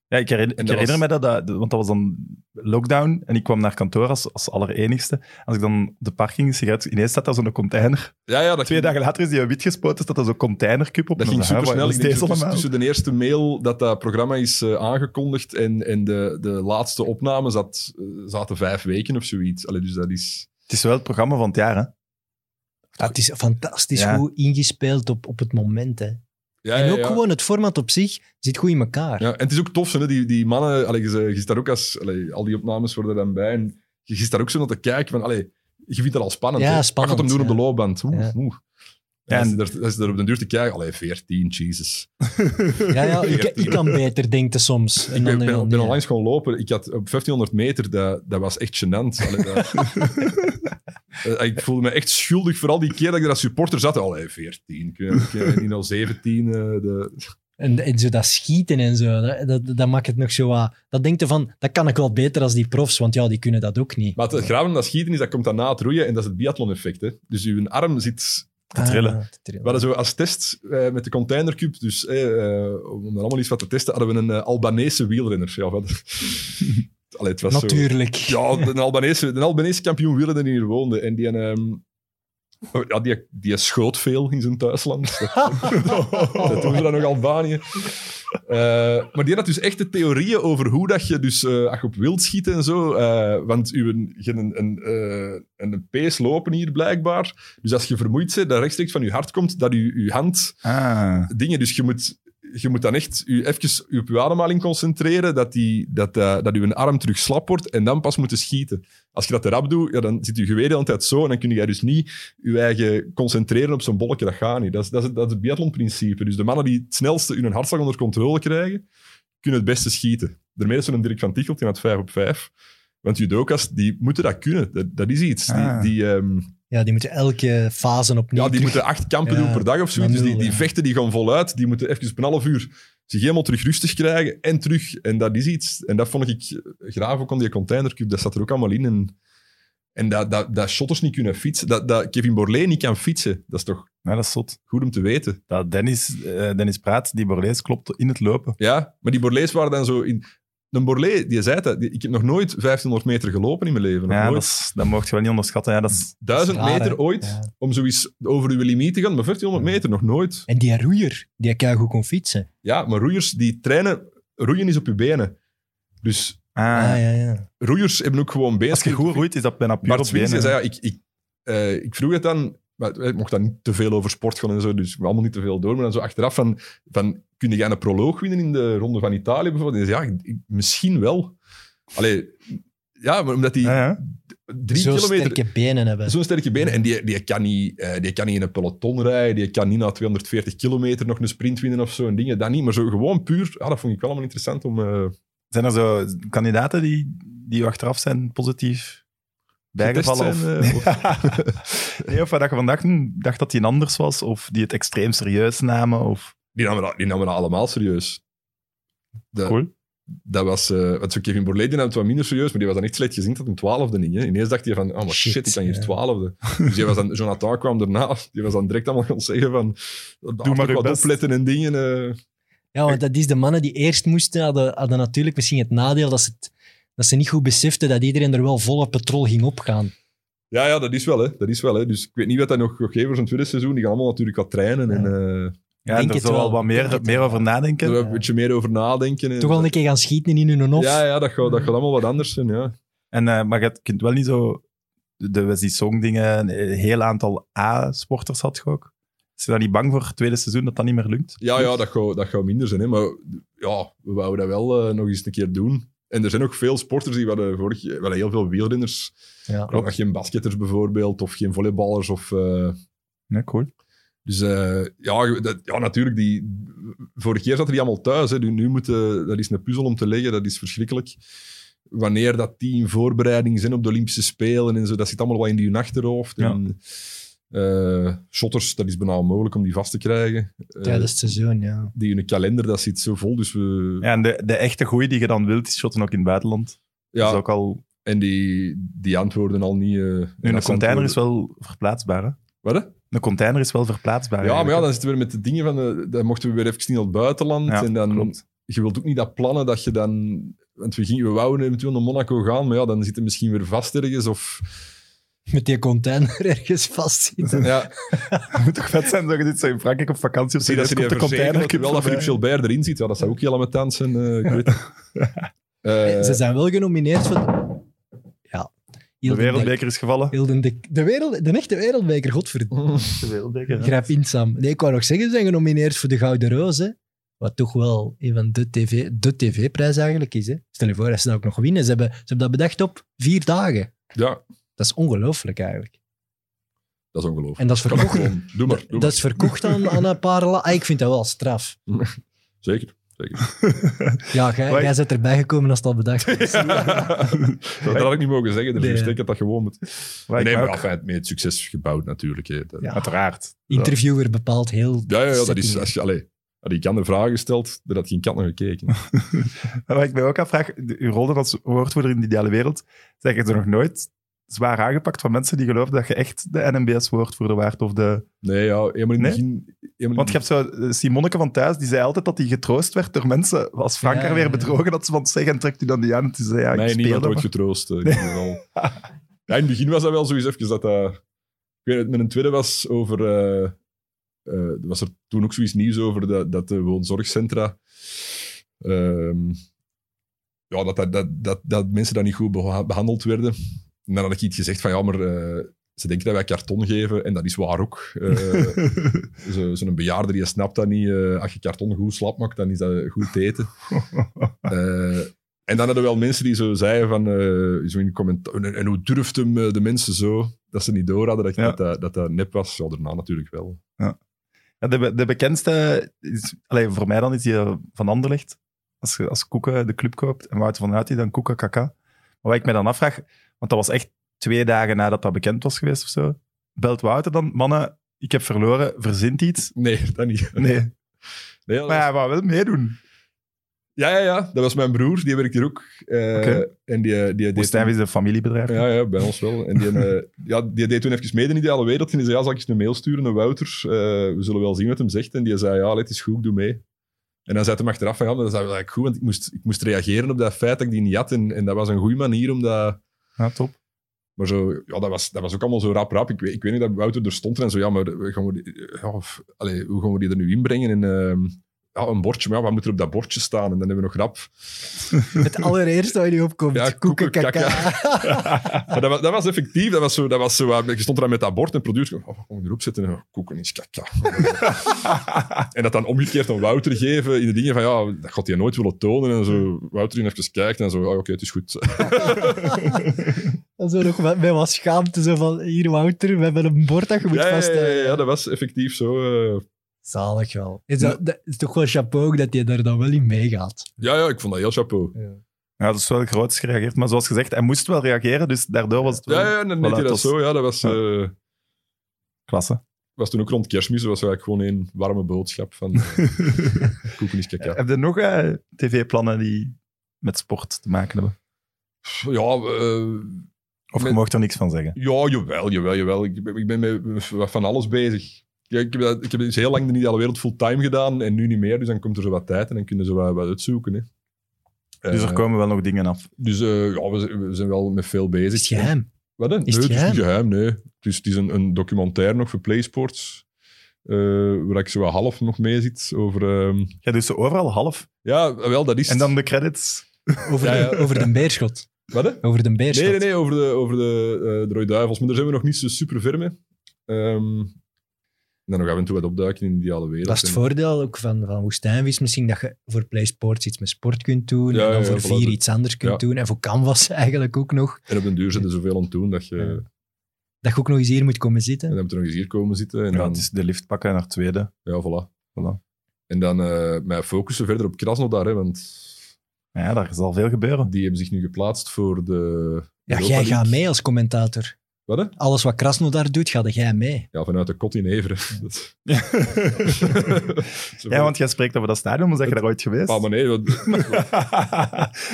Ja, ik herinner, En ik dat herinner was- me dat, dat, want dat was dan lockdown en ik kwam naar kantoor als, als allerenigste. Als ik dan de parking een sigaret, ineens staat daar zo'n container. Ja, ja, dat Twee ging- dagen later is die wit gespoten, staat daar zo'n containercup op. Dat En dan ging zei, "Ah, super snel. waar is Ik denk deze tussen, allemaal?" tussen de eerste mail dat dat programma is eh, aangekondigd en, en de, de laatste opname zat, eh, zaten vijf weken of zoiets. Allee, dus dat is... Het is wel het programma van het jaar, hè? Ah, het is fantastisch Ja. goed ingespeeld op, op het moment. Hè. Ja, en ja, ook ja. gewoon het format op zich zit goed in elkaar. Ja, en het is ook tof, hè, die, die mannen... Allee, je, je zit daar ook als... allee, al die opnames worden er dan bij. En je zit daar ook zo naar te kijken van... Allee, je vindt dat al spannend. Ja, hè. spannend, Wat gaat hem doen ja. op de loopband? Oeh, Ja. oeh. Ja, En en- als je daar- als je daar op de duur te kijken... Allee, 14, Jesus. Ja, ja, ik, ik kan beter, denkt hij soms. En Ik ben, dan- ben, dan- ben ja. onlangs gewoon lopen. Ik had op 1500 meter, dat, dat was echt gênant. Allee, dat- Eh, ik voelde me echt schuldig, vooral die keer dat ik er als supporter zat. Allee, 14, kun je- kun je niet al 17. eh, de... En, en zo dat schieten en zo, dat, dat, dat maakt het nog zo wat... Dat denkt hij van, dat kan ik wel beter als die profs, want ja, die kunnen dat ook niet. Maar het graven van dat schieten is, dat komt daarna het roeien en dat is het biathlon-effect. hè. Dus uw arm zit... te trillen. Ah, te We hadden zo als test eh, met de containercube, dus eh, eh, om dan allemaal iets wat te testen, hadden we een eh, Albanese wielrenner. Ja, wat... Allee, het was zo... Natuurlijk. Ja, de Albanese, de Albanese kampioen wielrenner die hier woonde. En die, ehm, oh, ja, die, die schoot veel in zijn thuisland. dat doen ze dan nog Albanië. Eh, maar die had dus echt de theorieën over hoe dat je dus, eh, als je op wild schiet en zo, eh, want uw, je hebt een, een, eh, een pees lopen hier blijkbaar. Dus als je vermoeid bent, dat rechtstreeks van je hart komt, dat je, je hand Ah, dingen. Dus je moet, je moet dan echt je even je op je ademhaling concentreren, dat, die, dat, eh, dat je arm terug slap wordt en dan pas moeten schieten. Als je dat te rap doet, ja, dan zit je geweten altijd zo en dan kun je dus niet je eigen concentreren op zo'n bolletje. Dat gaat niet. Dat is, dat is, het- dat is het biathlonprincipe. Dus de mannen die het snelste hun hartslag onder controle krijgen, kunnen het beste schieten. Daarmee is zo'n Dirk van Tichelt, die had 5 op 5. Want judoka's, die moeten dat kunnen. Dat, dat is iets. Ah. Die, die, ehm, Ja, die moeten elke fase opnieuw ja, die terug- moeten acht kampen Ja, doen per dag of zoiets. Dus die, nul, die ja. vechten die gaan voluit. Die moeten even op een half uur zich helemaal terug rustig krijgen en terug. En dat is iets. En dat vond ik eh, graaf ook aan die containercube. Dat zat er ook allemaal in. En, en dat, dat, dat shotters niet kunnen fietsen. Dat, dat Kevin Borlée niet kan fietsen. Dat is toch ja, dat is zot. goed om te weten. Dat Dennis, eh, Dennis Praat, die Borlees, klopt in het lopen. Ja, maar die Borlées waren dan zo in... Een Borlée, die zei dat. die- ik heb nog nooit 1500 meter gelopen in mijn leven. Nog Ja, dat, nooit. is, dat mocht je wel niet onderschatten. Ja, dat is, Duizend dat is raar, meter hè? ooit, Ja. om zoiets over uw limiet te gaan. Maar 1500 meter, nog nooit. En die roeier, die kan goed kon fietsen. Ja, maar roeiers die trainen, roeien is op je benen. Dus ah, Ah, ja, ja. roeiers hebben ook gewoon benen. Als je goed roeit, is dat bijna puur Bart op Swings benen. zei, ja, ik, ik, eh, ik vroeg het dan, maar eh, ik mocht dan niet te veel over sport gaan en zo, dus we allemaal niet te veel door, maar dan zo achteraf van, van kun jij een proloog winnen in de Ronde van Italië bijvoorbeeld? En hij zei, ja, ik- ik- misschien wel. Allee, ja, maar omdat die Ja, ja. drie Zo kilometer... sterke benen hebben. Zo'n sterke benen. En die, die, kan niet, eh, die kan niet in een peloton rijden. Die kan niet na 240 kilometer nog een sprint winnen of zo. En dingen. Dat niet. Maar zo gewoon puur. Ah, dat vond ik wel allemaal interessant om. eh, Zijn er zo kandidaten die, die achteraf zijn positief bijgevallen? Getest zijn, of, eh, nee, of dat je vandaag hm, dacht dat die een anders was, of die het extreem serieus namen. Of... die, namen dat, die namen dat allemaal serieus. De, Cool. Dat was, eh want zo Kevin Borlé die nam het wat minder serieus, maar die was dan echt slecht gezien dat een twaalfde ging. Hè. Ineens dacht hij van, oh maar shit, Shit, ik kan hier ja. twaalfde. Dus die was dan, Jonathan kwam daarna, die was dan direct allemaal gaan zeggen van, doe maar maar uw wat best. opletten en dingen. eh. Ja, want dat is de mannen die eerst moesten, hadden, hadden natuurlijk misschien het nadeel dat ze, het, dat ze niet goed beseften dat iedereen er wel volle patrol ging opgaan. Ja, ja, dat is wel, hè. Dat is wel, hè. Dus ik weet niet wat dat nog gaat geven voor zijn tweede seizoen. Die gaan allemaal natuurlijk wat trainen en eh, Ja, en Denk daar het zal wel. wel wat Denk meer, het meer wel. over nadenken. er een beetje meer over nadenken. En, Toch al een keer gaan schieten in hun hof. Ja, ja, dat gaat, dat gaat allemaal wat anders zijn, ja. En, eh, maar je kunt wel niet zo... De de Wesley Song dingen, een heel aantal A-sporters had je ook. Is je daar niet bang voor het tweede seizoen dat dat niet meer lukt? Ja, ja dat, gaat, dat gaat minder zijn. Hè. Maar ja, we wouden dat wel eh, nog eens een keer doen. En er zijn ook veel sporters die hadden vorig jaar wel heel veel wielrenners. Ja. Maar ook nog geen basketters bijvoorbeeld, of geen volleyballers. Of, eh, Ja, cool. dus eh, ja, dat, ja, natuurlijk. Die, vorig jaar zaten die allemaal thuis. Hè. Dus Nu, nu moeten, dat is een puzzel om te leggen, dat is verschrikkelijk. Wanneer dat die in voorbereiding zijn op de Olympische Spelen en zo, dat zit allemaal wat in die hun achterhoofd. Ja. En, eh, shotters, dat is bijna onmogelijk om die vast te krijgen. Eh, Tijdens het seizoen, ja. die hun kalender, dat zit zo vol. Dus we, Ja, en de, de echte goeie die je dan wilt, is shotten ook in het buitenland. ja, Dat is ook al... en die, die antwoorden al niet. eh, en Nu, een dat container is antwoorden- wel Ah, verplaatsbaar, hè? Wat, hè? Een container is wel verplaatsbaar. Ja, maar ja, eigenlijk, dan zitten we weer met de dingen van. eh, dan mochten we weer even niet naar het buitenland. Ja, en dan, klopt. Je wilt ook niet dat plannen dat je dan. Want we, gingen, we wouden eventueel naar Monaco gaan, maar ja, dan zitten we misschien weer vast ergens. Of, Met die container ergens vastzitten. ja, Het moet toch vet zijn dat je dit zo in Frankrijk op vakantie op zie dat ze die de container. container Dat wel dat Philippe Gilbert erin zit. Ja, dat zou ook heel ambetant zijn. eh, ik weet het. Eh, Ze zijn wel genomineerd voor... Ja. De Heel de, wereldbeker is gevallen. heel de, de, wereld, de echte wereldbeker, godverdomme. De wereldbeker, Grijp in, Sam. Nee, ik wou nog zeggen, ze zijn genomineerd voor de Gouden Roos, hè. Wat toch wel een van de, TV, de tv-prijs eigenlijk is, hè. Stel je voor dat ze dat ook nog winnen. Ze hebben, ze hebben dat bedacht op vier dagen. ja, Dat is ongelooflijk eigenlijk. dat is ongelooflijk. En dat is Kan ook verkocht, gewoon. Doe maar. Doe dat maar. is verkocht aan, aan een paar... La- Ah, ik vind dat wel straf. Zeker. zeker. Ja, jij, Maar- jij bent erbij gekomen als het al bedacht is. dat had ik niet mogen zeggen. Dus Nee. ik denk dat dat gewoon moet. Waar ik nee, me maar ook- enfin, met succes gebouwd natuurlijk. Hè. Dat- Ja. Uiteraard. Interviewer bepaalt heel... Ja, ja, ja, dat is... setting. Als je, allee, had ik andere vragen gesteld, dan had geen kat naar gekeken. Maar Waar ik mij ook afvraag, de- uw rol dan als woordvoerder in de ideale wereld, zeg je er nog nooit zwaar aangepakt van mensen die geloven dat je echt de NMBS-woordvoerder waart? Of de... Mm. Nee, ja, helemaal in het Nee? begin... helemaal Want je in- hebt zo eh, Simoneke van Thuis, die zei altijd dat hij getroost werd door mensen als Frank Ja, haar weer ja, ja. bedrogen, dat ze van zeggen en trekt u dan die aan. En toen zei ja, ik mij niemand speelde. ooit maar- getroost. eh, in ieder geval. ja, in het begin was dat wel zoiets even dat dat... Ik weet het, mijn tweede was over... eh, eh, was er toen ook zoiets nieuws over dat, dat de woonzorgcentra... ehm, ja, dat, dat, dat, dat, dat mensen daar niet goed beha- behandeld werden. En dan had ik iets gezegd van, ja, maar... eh, ze denken dat wij karton geven, en dat is waar ook. Eh, Zo- Zo'n bejaarde die snapt dat niet. eh, als je karton goed slap maakt, dan is dat goed te eten. Eh, en dan hadden we wel mensen die zo zeiden van... eh, zo in commenta- en, en hoe durft hem eh, de mensen zo... Dat ze niet door hadden dat Ja. dat, dat, dat nep was. Ja, daarna natuurlijk wel. Ja, de, be- de bekendste, is, allee, voor mij dan, is die eh, van Anderlecht. Als, je- als Koeken de club koopt en Wouter van Uitie, dan Koeken Kaka. Maar wat ik mij dan afvraag, want dat was echt twee dagen nadat dat bekend was geweest of zo, belt Wouter dan, mannen, ik heb verloren, verzint iets. Nee, dat niet. Nee, Nee, dat maar hij wou wel meedoen. was- ja, ja, ja. Dat was mijn broer. Die werkt hier ook. Eh, Oké. En die, die, die Woestijn is een familiebedrijf. Ja, ja, bij ons wel. En die, eh, ja, die deed toen even mee in de ideale wereld. En die zei, ja, zal ik eens een mail sturen naar Wouter? Eh, we zullen wel zien wat hem zegt. En die zei, ja, let is goed, ik doe mee. En dan zei hij hem achteraf van, ja, maar dat is eigenlijk goed, want ik moest, ik moest reageren op dat feit dat ik die niet had. En, en dat was een goede manier om dat... Ja, top. Maar zo, ja, dat, was, dat was ook allemaal zo rap, rap. Ik weet, ik weet niet dat Wouter er stond en zo, ja, maar we gaan we die- ja, of, allee, hoe gaan we die er nu inbrengen? En, ehm, ja, een bordje, maar ja, wat moet er op dat bordje staan? En dan hebben we nog rap... Het allereerste wat je opkomt. Ja, koeken, koeken, kaka. Maar dat, was, dat was effectief. Dat was zo, dat was zo, eh, je stond daar met dat bord en producer. Oh, wat kom je erop zetten? En, oh, Koeken is kaka. en dat dan omgekeerd aan Wouter geven. In de dingen van, ja, dat gaat hij nooit willen tonen. En zo, Wouter in even kijkt en zo, oh, oké, het is goed. Dan zo nog met, met wat schaamte, zo van, hier Wouter, we hebben een bord dat je moet ja, ja, ja, vasthouden. ja, dat was effectief zo. eh. Zalig wel. Is dat, dat is toch wel chapeau ook dat je daar dan wel in meegaat. ja, ja, ik vond dat heel chapeau. Ja, dat is wel groots gereageerd. Maar zoals gezegd, hij moest wel reageren, dus daardoor was het wel Ja, ja, en dan Voilà, deed hij dat het was- zo. Ja, dat was, Ja. eh, klasse. was toen ook rond kerstmis. Dat was eigenlijk gewoon één warme boodschap van eh, Koeken is kaka. Heb je nog eh, tv-plannen die met sport te maken hebben? Pff, Ja, eh, Of je Met- mocht er niks van zeggen? Ja, jawel, jawel, jawel. Ik ben, ik ben met van alles bezig. Ja, ik, heb, dat- ik heb dus heel lang de Ideale Wereld fulltime gedaan en nu niet meer. Dus dan komt er zo wat tijd en dan kunnen ze wat, wat uitzoeken. Hè. dus Eh, er komen wel nog dingen af. dus eh, ja, we, zijn- we zijn wel met veel bezig. Is het geheim? Wat, hè? het nee, het is geheim? niet geheim, nee. Het is, het is een, een documentaire nog voor PlaySports, eh, waar ik zo wat half nog mee zit over... ehm, Jij doet ze dus overal half. ja, wel, dat is En het. dan de credits. Over, Ja, ja. De, over de beerschot. Wat, hè? Over de beerschot. Nee, nee, nee, over de, over de, eh, de Rode Duivels. Maar daar zijn we nog niet zo super ver mee. Ehm, en dan nog af en toe wat opduiken in de ideale wereld. Dat is het En- voordeel ook van, van woestijnvis misschien, dat je voor PlaySports iets met sport kunt doen, Ja, en dan ja, voor voilà, vier dat- iets anders kunt ja. doen, en voor Canvas eigenlijk ook nog. En op den duur zit er zoveel aan het doen dat je... Ja. En Dat je ook nog eens hier moet komen zitten. dan moet er nog eens hier komen zitten. En Ja, dan, het is de lift pakken naar het tweede. ja voilà. Voilà. En dan eh mij focussen verder op Krasnodar, hè, want Ja, daar zal veel gebeuren. die hebben zich nu geplaatst voor de... Ja, Europa jij League. gaat mee als commentator. Wat, hè? Alles wat Krasnodar doet, ga jij mee. Ja, vanuit de kot in Everen. Dat- Zo Ja, want jij spreekt over dat stadion, maar zeg je daar ooit van, geweest? "Pa, maar nee, wat-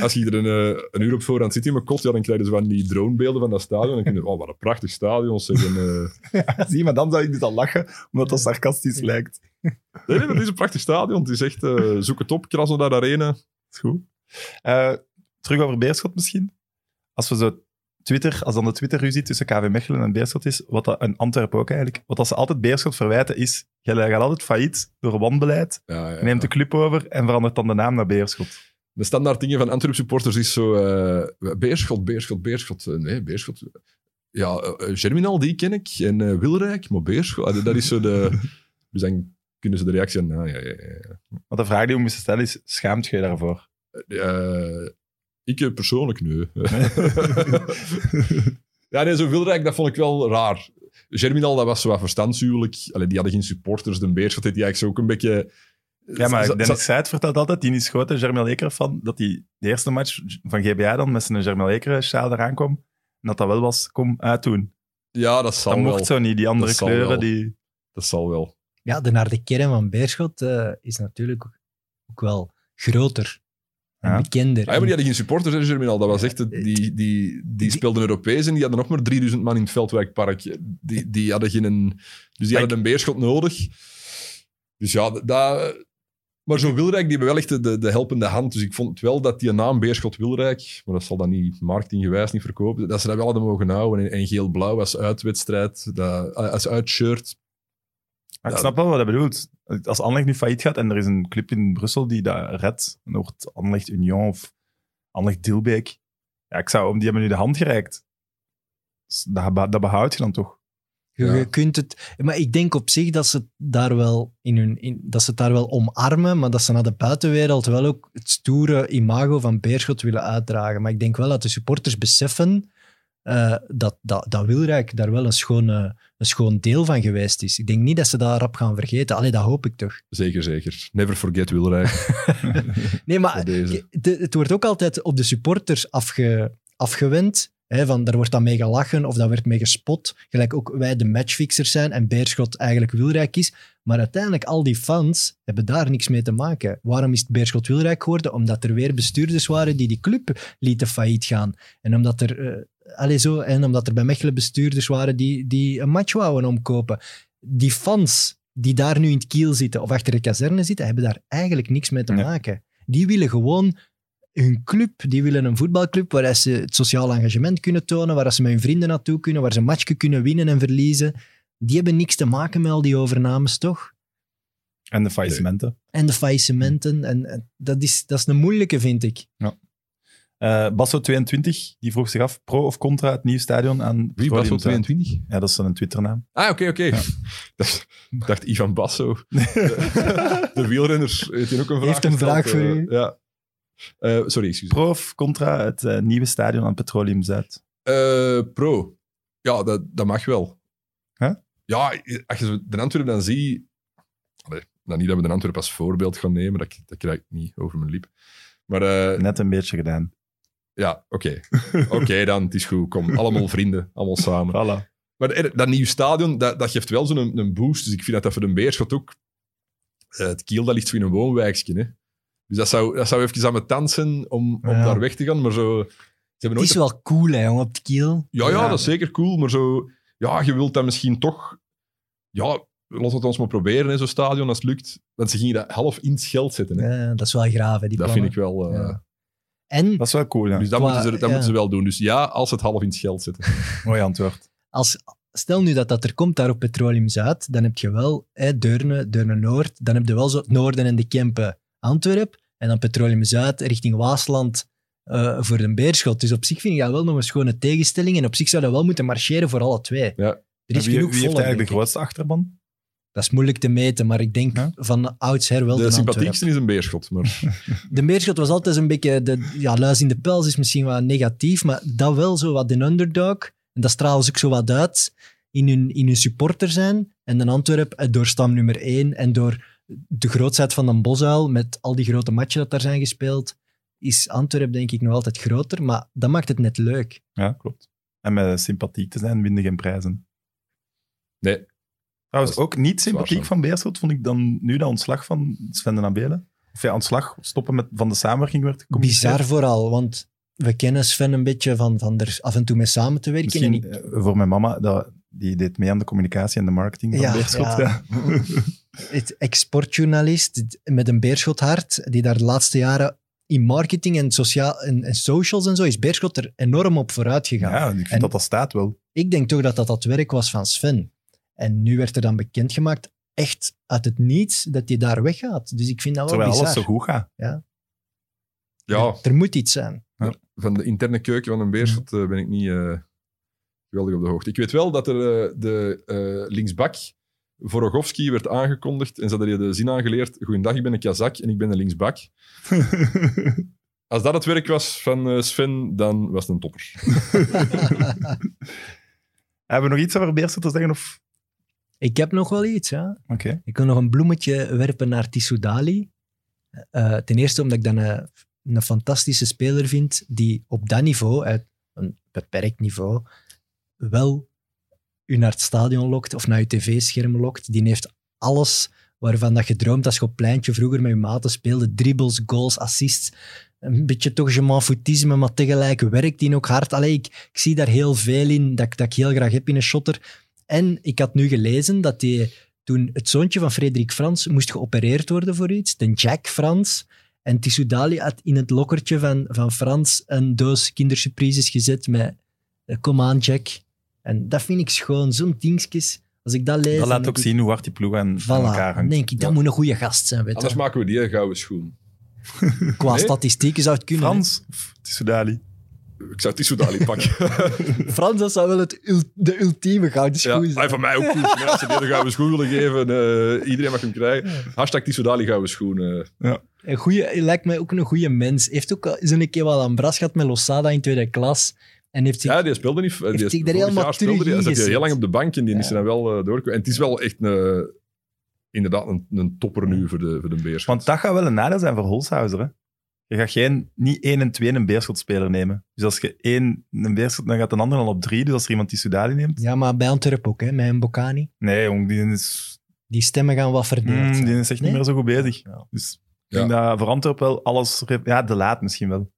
als je er een, eh, een uur op voorhand zit in mijn kot, ja, dan krijg je zo van die dronebeelden van dat stadion. Dan kun je, oh, wat een prachtig stadion. Zeg, en, eh, Zie, maar dan zou ik dus al lachen, omdat dat sarcastisch lijkt. nee, nee, dat is een prachtig stadion. Het is echt, eh, zoek het op, Krasnodar Arena. Is goed. Eh, terug over Beerschot misschien. Als we zo Twitter, als dan de Twitter-ruzie tussen KV Mechelen en Beerschot is, wat dat, en Antwerpen ook eigenlijk, wat dat ze altijd Beerschot verwijten is, jij gaat altijd failliet door wanbeleid, Ja, ja, neemt de club over en verandert dan de naam naar Beerschot. De standaard dingen van Antwerp supporters is zo... eh, beerschot, Beerschot, Beerschot. Eh, nee, Beerschot. Ja, eh, eh, Germinal, die ken ik. En eh, Wilrijk, maar Beerschot. Ah, dat is zo de... dus dan kunnen ze de reactie... aan, ah, ja, ja, ja. Want de vraag die we moesten stellen is, schaamt je je daarvoor? Eh, ik eh, persoonlijk nu. ja, nee, zo Wilrijk, dat vond ik wel raar. Germinal, dat was zo wat verstandshuwelijk. Allee, die hadden geen supporters. De Beerschot had die eigenlijk zo ook een beetje... Ja, maar Za- za- Dennis Zuid vertelt altijd, die is grote Germel Eker van, dat hij de eerste match van GBA dan met zijn Germel Eker sjaal eraan kwam, en dat dat wel was, kom uitdoen. Ja, dat Dat zal wel. mocht zo niet, die andere Dat zal kleuren, wel. die... Dat zal wel. Ja, de naar de kern van Beerschot eh, is natuurlijk ook- ook wel groter en Ja. bekender. Ah, ja, maar die hadden geen supporters, hè, Germinal. Dat was echt... de- Ja, Die, die, die speelden Europees en die hadden nog maar 3000 man in het Veldwijkpark. Die, die hadden geen... een- Dus die Maar hadden een Beerschot nodig. Dus ja, d- dat... Maar zo Wilrijk, die hebben wel echt de, de, de helpende hand. Dus ik vond het wel dat die naam Beerschot Wilrijk, maar dat zal dan niet marketinggewijs niet verkopen, dat ze dat wel hadden mogen houden. En, en geel-blauw als uitwedstrijd, dat, als uitshirt. Maar ik Ja. snap wel wat hij bedoelt. Als Anderlecht nu failliet gaat en er is een club in Brussel die dat redt, dan wordt Anderlecht Union of Anderlecht Dilbeek. Ja, ik zou, die hebben nu de hand gereikt. Dus dat, be- dat behoud je dan toch? Je, Ja. je kunt het, maar ik denk op zich dat ze, het daar wel in hun, in, dat ze het daar wel omarmen, maar dat ze naar de buitenwereld wel ook het stoere imago van Beerschot willen uitdragen. Maar ik denk wel dat de supporters beseffen eh, dat, dat, dat Wilrijk daar wel een, schone, een schoon deel van geweest is. Ik denk niet dat ze dat rap gaan vergeten. Allee, dat hoop ik toch. Zeker, zeker. Never forget Wilrijk. Nee, maar Bij deze. de- het wordt ook altijd op de supporters afge, afgewend. Hè, van, daar wordt dan mee gelachen of daar werd mee gespot. Gelijk ook wij de matchfixers zijn en Beerschot eigenlijk Wilrijk is. Maar uiteindelijk, al die fans hebben daar niks mee te maken. Waarom is het Beerschot Wilrijk geworden? Omdat er weer bestuurders waren die die club lieten failliet gaan. En omdat er, eh, allee, zo, en omdat er bij Mechelen bestuurders waren die, die een match wouden omkopen. Die fans die daar nu in het kiel zitten of achter de kazerne zitten, hebben daar eigenlijk niks mee te Ja. maken. Die willen gewoon hun club, die willen een voetbalclub waar ze het sociaal engagement kunnen tonen, waar ze met hun vrienden naartoe kunnen, waar ze een matchje kunnen winnen en verliezen. Die hebben niks te maken met al die overnames, toch? En de faillissementen. En de faillissementen. En, en dat, is, dat is een moeilijke, vind ik. Eh, Basso 22, die vroeg zich af, pro of contra het nieuwe stadion aan Wie was Petroleum op Zuid? 22? Ja, dat is dan een Twitternaam. Ah, oké, oké. Dat- Ik dacht Ivan Basso. De, de wielrenner heeft hier ook een vraag Heeft een gesteld, vraag voor eh, u. Ja. Eh, sorry, excuus. Pro of contra het eh, nieuwe stadion aan Petroleum Zuid? Eh, pro. Ja, dat, dat mag wel. Hè? Ja, als je zo de Antwerpen dan ziet... Allee, nou, niet dat we de Antwerpen als voorbeeld gaan nemen, dat, dat krijg ik niet over mijn lip. Maar eh, Net een beetje gedaan. ja, oké. Oké dan, het is goed. Kom, allemaal vrienden, allemaal samen. Voilà. Maar er- dat nieuwe stadion, dat, dat geeft wel zo'n een, boost. Dus ik vind dat dat voor een Beerschot ook... eh, het Kiel, dat ligt zo in een woonwijkje, hè. Dus dat zou, dat zou even aan mijn tand zijn om, om Ja. daar weg te gaan. Maar zo, ze hebben Het nooit is wel cool, hè, jongen, op de kiel. Ja, ja, Ja. dat is zeker cool. Maar zo, ja, je wilt dat misschien toch. Ja, laat het ons maar proberen in zo'n stadion als het lukt. Want ze gingen dat half in het scheld zetten. Hè. Ja, dat is wel graaf, hè, die dat vind plannen. ik wel. eh, Ja. En Dat is wel cool, ja. Dus dat, Qua- moeten, ze, dat ja. moeten ze wel doen. Dus ja, als het half in het scheld zetten. Mooi antwoord. als, stel nu dat dat er komt daar op Petroleum Zuid, dan heb je wel hè, Deurne, Deurne Noord, dan heb je wel zo het Noorden en de Kempen Antwerp, en dan Petroleum Zuid richting Waasland eh, voor de Beerschot. Dus op zich vind ik dat wel nog een schone tegenstelling en op zich zou dat wel moeten marcheren voor alle twee. Ja. Er is wie genoeg wie heeft volk, eigenlijk de denk ik. grootste achterban? Dat is moeilijk te meten, maar ik denk Ja. van oudsher wel van De Antwerp. sympathiekste is een beerschot. Maar De Meerschot was altijd een beetje... De, ja, luis in de pels is misschien wat negatief, maar dat wel zo wat de underdog. En dat stralen ze ook zo wat uit in hun, in hun supporter zijn. En dan Antwerp eh, door stam nummer 1 en door de grootheid van een bosuil met al die grote matchen dat daar zijn gespeeld, is Antwerp denk ik nog altijd groter. Maar dat maakt het net leuk. Ja, klopt. En met sympathiek te zijn, winnen geen prijzen. nee, Trouwens, Dat ook niet sympathiek zo. van Beerschot vond ik dan nu de ontslag van Sven de Nabele. Of ja, ontslag, stoppen met, van de samenwerking werd gecommuniceerd. Bizar vooral, want we kennen Sven een beetje van, van er af en toe mee samen te werken. en Misschien ik- eh, voor mijn mama, dat, die deed mee aan de communicatie en de marketing van Ja, Beerschot. ja. Ja. het exportjournalist met een beerschot-hart, die daar de laatste jaren in marketing en, sociaal, en, en socials en zo, is Beerschot er enorm op vooruit gegaan. Ja, ik vind En- dat dat staat wel. Ik denk toch dat dat dat werk was van Sven. En nu werd er dan bekendgemaakt, echt uit het niets, dat hij daar weggaat. Dus ik vind dat wel Terwijl alles bizar. zo goed gaat. ja, Er, er moet iets zijn. van de interne keuken van een beerschot eh, ben ik niet eh, geweldig op de hoogte. Ik weet wel dat er eh, de eh, linksbak voor Rogowski werd aangekondigd. En ze hadden je de zin aangeleerd. Goedendag, ik ben een Kazak en ik ben een linksbak. Als dat het werk was van eh, Sven, dan was het een topper. Hebben we nog iets over Beerschot te zeggen? Of... ik heb nog wel iets, ja. Oké. Ik wil nog een bloemetje werpen naar Tissou Dali. Eh, ten eerste omdat ik dan een, een fantastische speler vind die op dat niveau, uit een beperkt niveau, wel u naar het stadion lokt of naar je tv-scherm lokt. Die heeft alles waarvan dat je droomt als je op het pleintje vroeger met je maten speelde. Dribbles, goals, assists. Een beetje toch je m'en foutisme, maar tegelijk werkt die ook hard. Allee, ik, ik zie daar heel veel in dat, ik- dat ik heel graag heb in een shotter. En ik had nu gelezen dat die toen het zoontje van Frederik Frans moest geopereerd worden voor iets, de Jack Frans. En Tissou Dali had in het lokkertje van, van Frans een doos kindersurprises gezet met eh, kom aan Jack. En dat vind ik schoon, zo'n dingskes. Als ik dat lees... Dat dan laat denk ook ik- zien hoe hard die ploeg aan, aan Voilà, elkaar dan hangt. denk ik, dat Ja. moet een goede gast zijn. Weet Anders je. maken we die een gouden schoen. Qua Nee. statistieken zou het kunnen. Frans, of Tissoudali. Ik zou Tissou Dali pakken. hè. Frans, dat zou wel het ul- de ultieme gouden ja, schoen hij zijn. van mij ook goed. Ja, als ze die een gouden schoen willen geven, eh, iedereen mag hem krijgen. Hashtag Tissou Dali gouden schoen. eh. Een goeie, hij lijkt mij ook een goede mens. Heeft ook al- is een keer wel aan bras gehad met Losada in tweede klas. En heeft zich Ja, die speelde niet. eh, Die hij daar vorig helemaal jaar speelde terug die, in zat die heel gezet? lang op de bank en die is Ja. er dan wel eh, doorgekomen. En het is wel echt een, eh, inderdaad een, een topper nu voor de, voor de Beers. Want dat gaat wel een nadeel zijn voor Holshouser. Hè? Je gaat geen, niet één en twee een Beerschotspeler nemen. Dus als je één een Beerschot, dan gaat een ander al op drie. Dus als er iemand Tissoudali neemt... Ja, maar bij Antwerp ook, hè, met een Bocani. Nee, jong, die is, Die stemmen gaan wat verdeeld. mm, zijn. die is echt Nee? niet meer zo goed bezig. Ja. Dus ik denk dat voor Antwerp wel alles... Ja, de laat misschien wel.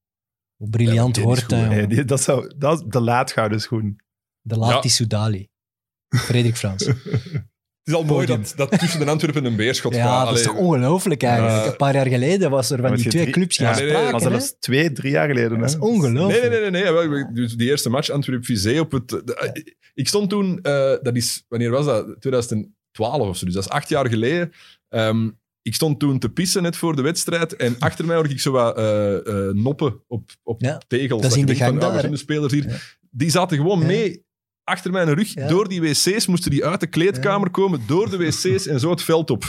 Hoe briljant Ja, maar die is hoort eh, hij. goed, Nee, jongen. die- dat, zou, dat is de laat gouden schoen. De laat Ja. die Soudali. Frederik Frans. het is al mooi podium. dat, dat tussen de Antwerpen en een Beerschot ja, gaat. dat is Allee, toch ongelooflijk eigenlijk. Ja. een paar jaar geleden was er van Maar die je twee drie- clubs Ja, geen nee, nee, sprake. dat Dat was hè? zelfs twee, drie jaar geleden. hè. dat is ongelooflijk. Nee, nee, nee, nee. nee. Wel, ik- Dus die eerste match Antwerp-Vizé op het... de- Ik stond toen... eh, dat is... Wanneer was dat? 2012 of zo. Dus dat is acht jaar geleden. Ehm, ik stond toen te pissen net voor de wedstrijd. En achter mij hoorde ik zo wat eh, eh, noppen op, op Ja, tegels. dat is in de je denkt gang van, ah, daar, waar zijn hè? de spelers hier. Ja. Die zaten gewoon Ja. mee... Achter mijn rug, Ja. door die wc's, moesten die uit de kleedkamer komen, door de wc's en zo het veld op.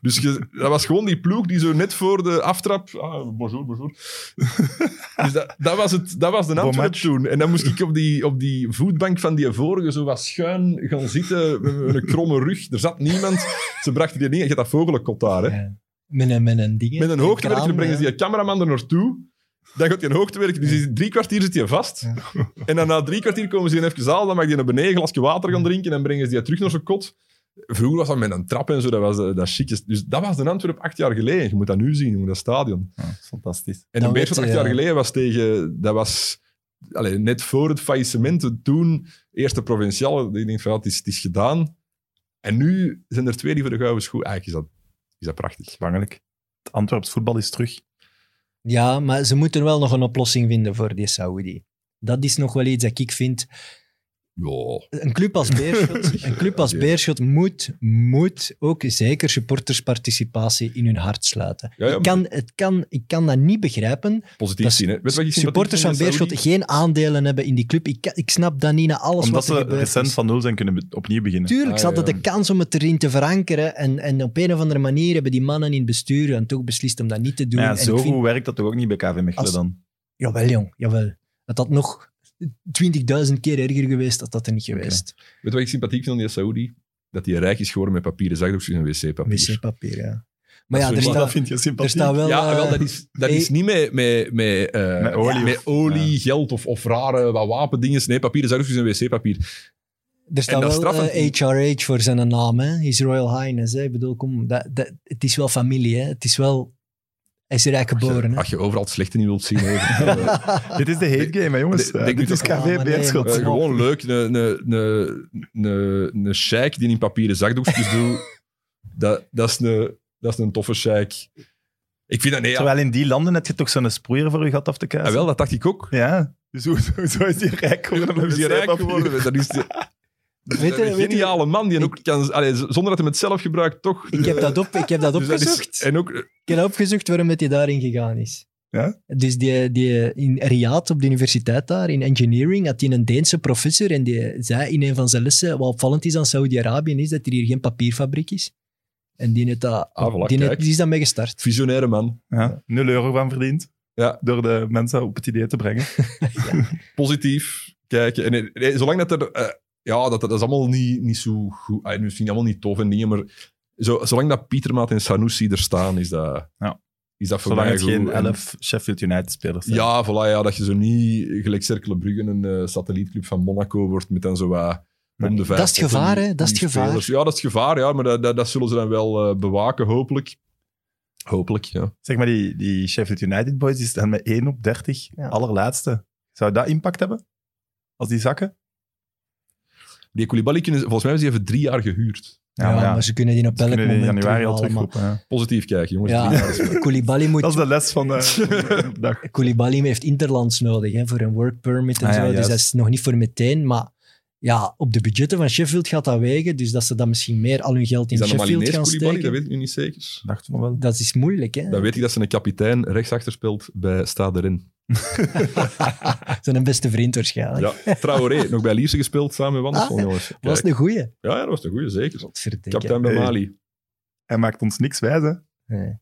Dus je- dat was gewoon die ploeg die zo net voor de aftrap... Ah, bonjour, bonjour. Dus dat, dat, was het, dat was de Antwerp match. toen. En dan moest ik op die, op die voetbank van die vorige zo wat schuin gaan zitten, met met een kromme rug. Er zat niemand. Ze brachten die niet. Je had dat vogelkot daar. Hè. Ja. Met een, met een ding. hè? Met een hoogtewerker kraan, brengen ze ja. die cameraman er naartoe. Dan gaat die een hoogtewerker, dus die- drie kwartier zit hij vast. Ja. En dan na drie kwartier komen ze in even zaal, dan mag die naar beneden een glasje water gaan drinken en brengen ze die terug naar zijn kot. Vroeger was dat met een trap en zo, dat was eh, dat chic. Dus dat was de Antwerp acht jaar geleden. Je moet dat nu zien, jongen, dat stadion. Ja, dat is fantastisch. Dan En de weet Beerschot je, acht ja. jaar geleden was tegen... Dat was allee, net voor het faillissement toen. Eerste provinciale. Ik denk van, ja, het, is, het is gedaan. En nu zijn er twee die voor de gouden schoen. Eigenlijk is dat, is dat prachtig. Bangelijk. Het Antwerps voetbal is terug. Ja, maar ze moeten wel nog een oplossing vinden voor die Saoedi. Dat is nog wel iets dat ik vind. Ja. Een club als Beerschot, een club als Ja. Beerschot moet, moet ook zeker supportersparticipatie in hun hart sluiten. Ja, ja, ik, kan, het kan, ik kan dat niet begrijpen. Positief Dat is- zien, hè. Weet je wat ik sympathiek Supporters vind van in Saudi? Beerschot geen aandelen hebben in die club. Ik, kan- ik snap dat niet na alles Omdat wat ze er gebeurd is. recent van nul zijn kunnen be- opnieuw beginnen. Tuurlijk, ze Ah, hadden ja. de kans om het erin te verankeren. En, en op een of andere manier hebben die mannen in het bestuur en toch beslist om dat niet te doen. Maar ja, En zo ik vind- goed werkt dat toch ook niet bij KV Mechelen Als- dan? Jawel, jong, jawel. Dat had nog 20.000 keer erger geweest had dat er niet geweest. Weet je wat ik sympathiek vind aan die Saoedi? Dat hij rijk is geworden met papieren zakdoekjes en wc-papier. Wc-papier, ja. Maar ja, Sorry, er maar staat, vind je er sympathiek. staat wel... Ja, eh, wel, dat is, dat is niet met, met, met, eh, Met olie met of- olie, ja. geld of, of rare wat wapendingen. Nee, papieren zakdoekjes en wc-papier. Er staat dat wel straffen- eh, HRH voor zijn naam, hè. His Royal Highness, hè. Ik bedoel, kom, dat, dat, het is wel familie, hè. Het is wel... Hij is rijk geboren, hè. Als je overal het slechte niet wilt zien. hè. Eh, Dit is de hate game, hè, jongens. Dit- Eh, dit- dit is dit- Ah, maar KV nee, Beerschot. eh, maar- gewoon leuk. Een, een, een, een, een sheik die in papieren zakdoekjes doet. Dat, dat, is een, dat is een toffe sheik. Ik vind dat... Nee, ja, Terwijl in die landen heb je toch zo'n sproeier voor je gat af te ah, kuisen. wel, dat dacht ik ook. Ja. Dus hoe, zo is die rijk geworden? Hoe is hij rijk geworden? Dat is de- Weet je- een weet je- geniale man die ik- ook kan, allee, z- zonder dat hij het zelf gebruikt, toch. Ik heb dat, op, ik heb dat Dus dat is- opgezocht. en ook, Ik heb opgezocht waarom dat hij daarin gegaan is. Ja? Dus die, die, in Riyadh, op de universiteit daar, in engineering, had hij een Deense professor en die zei in een van zijn lessen, wat opvallend is aan Saudi-Arabië, is dat er hier geen papierfabriek is. En die, heeft dat, Ah, voilà, die, heeft- kijk. die is daarmee gestart. visionaire man. Ja, 0 euro van verdiend. Ja. Door de mensen op het idee te brengen. Positief. Kijken. En, nee, nee, zolang dat er... eh, ja, dat, dat is allemaal niet, niet zo goed. Ah, allee, misschien allemaal niet tof en dingen, maar zo, zolang dat Pietermaat en Sanusi er staan, is dat... Ja. Is dat voor Zolang mij het goed. geen En- 11 Sheffield United spelers zijn. Ja, voilà, ja, dat je zo niet gelijk Cercle Brugge een eh, satellietclub van Monaco wordt met dan zo wat om de vijf. Dat is het tot gevaar, tien- hè? Dat is tien het gevaar. spelers. Ja, dat is het gevaar, ja, maar dat, dat, dat zullen ze dan wel eh, bewaken, hopelijk. Hopelijk, ja. Zeg maar, die, die Sheffield United boys die staan met 1 op 30. Ja. Allerlaatste. Zou dat impact hebben? Als die zakken? Die Koulibaly kunnen, volgens mij hebben ze die even drie jaar gehuurd. Ja, maar, ze kunnen die op ze elk kunnen die in moment januari al terughalen, terugroepen. ja. Positief kijken, jongens. maar- Drie jaar is- Ja, Koulibaly, Dat moet, is de les van de, van de dag. Koulibaly heeft interlands nodig hè, voor een work permit en Ah, ja, zo, dus juist. dat is nog niet voor meteen, maar ja, op de budgetten van Sheffield gaat dat wegen, dus dat ze dan misschien meer al hun geld in Is dat een Sheffield Malinese gaan Koulibaly? Dat steken. weet ik nu niet zeker. Dacht van wel. Dat is moeilijk, hè? Dan weet ik dat ze een kapitein rechtsachter speelt bij Stade Rennes. Zijn beste vriend waarschijnlijk. Ja, Traoré, nog bij Lierse gespeeld samen met Wanderson, Ah, jongens. Dat was eh, Kijk. een goeie. Ja, ja, dat was een goede, zeker. Wat verdikken. Kapitein bij Hey. Mali. Hij maakt ons niks wijs, hè. Nee.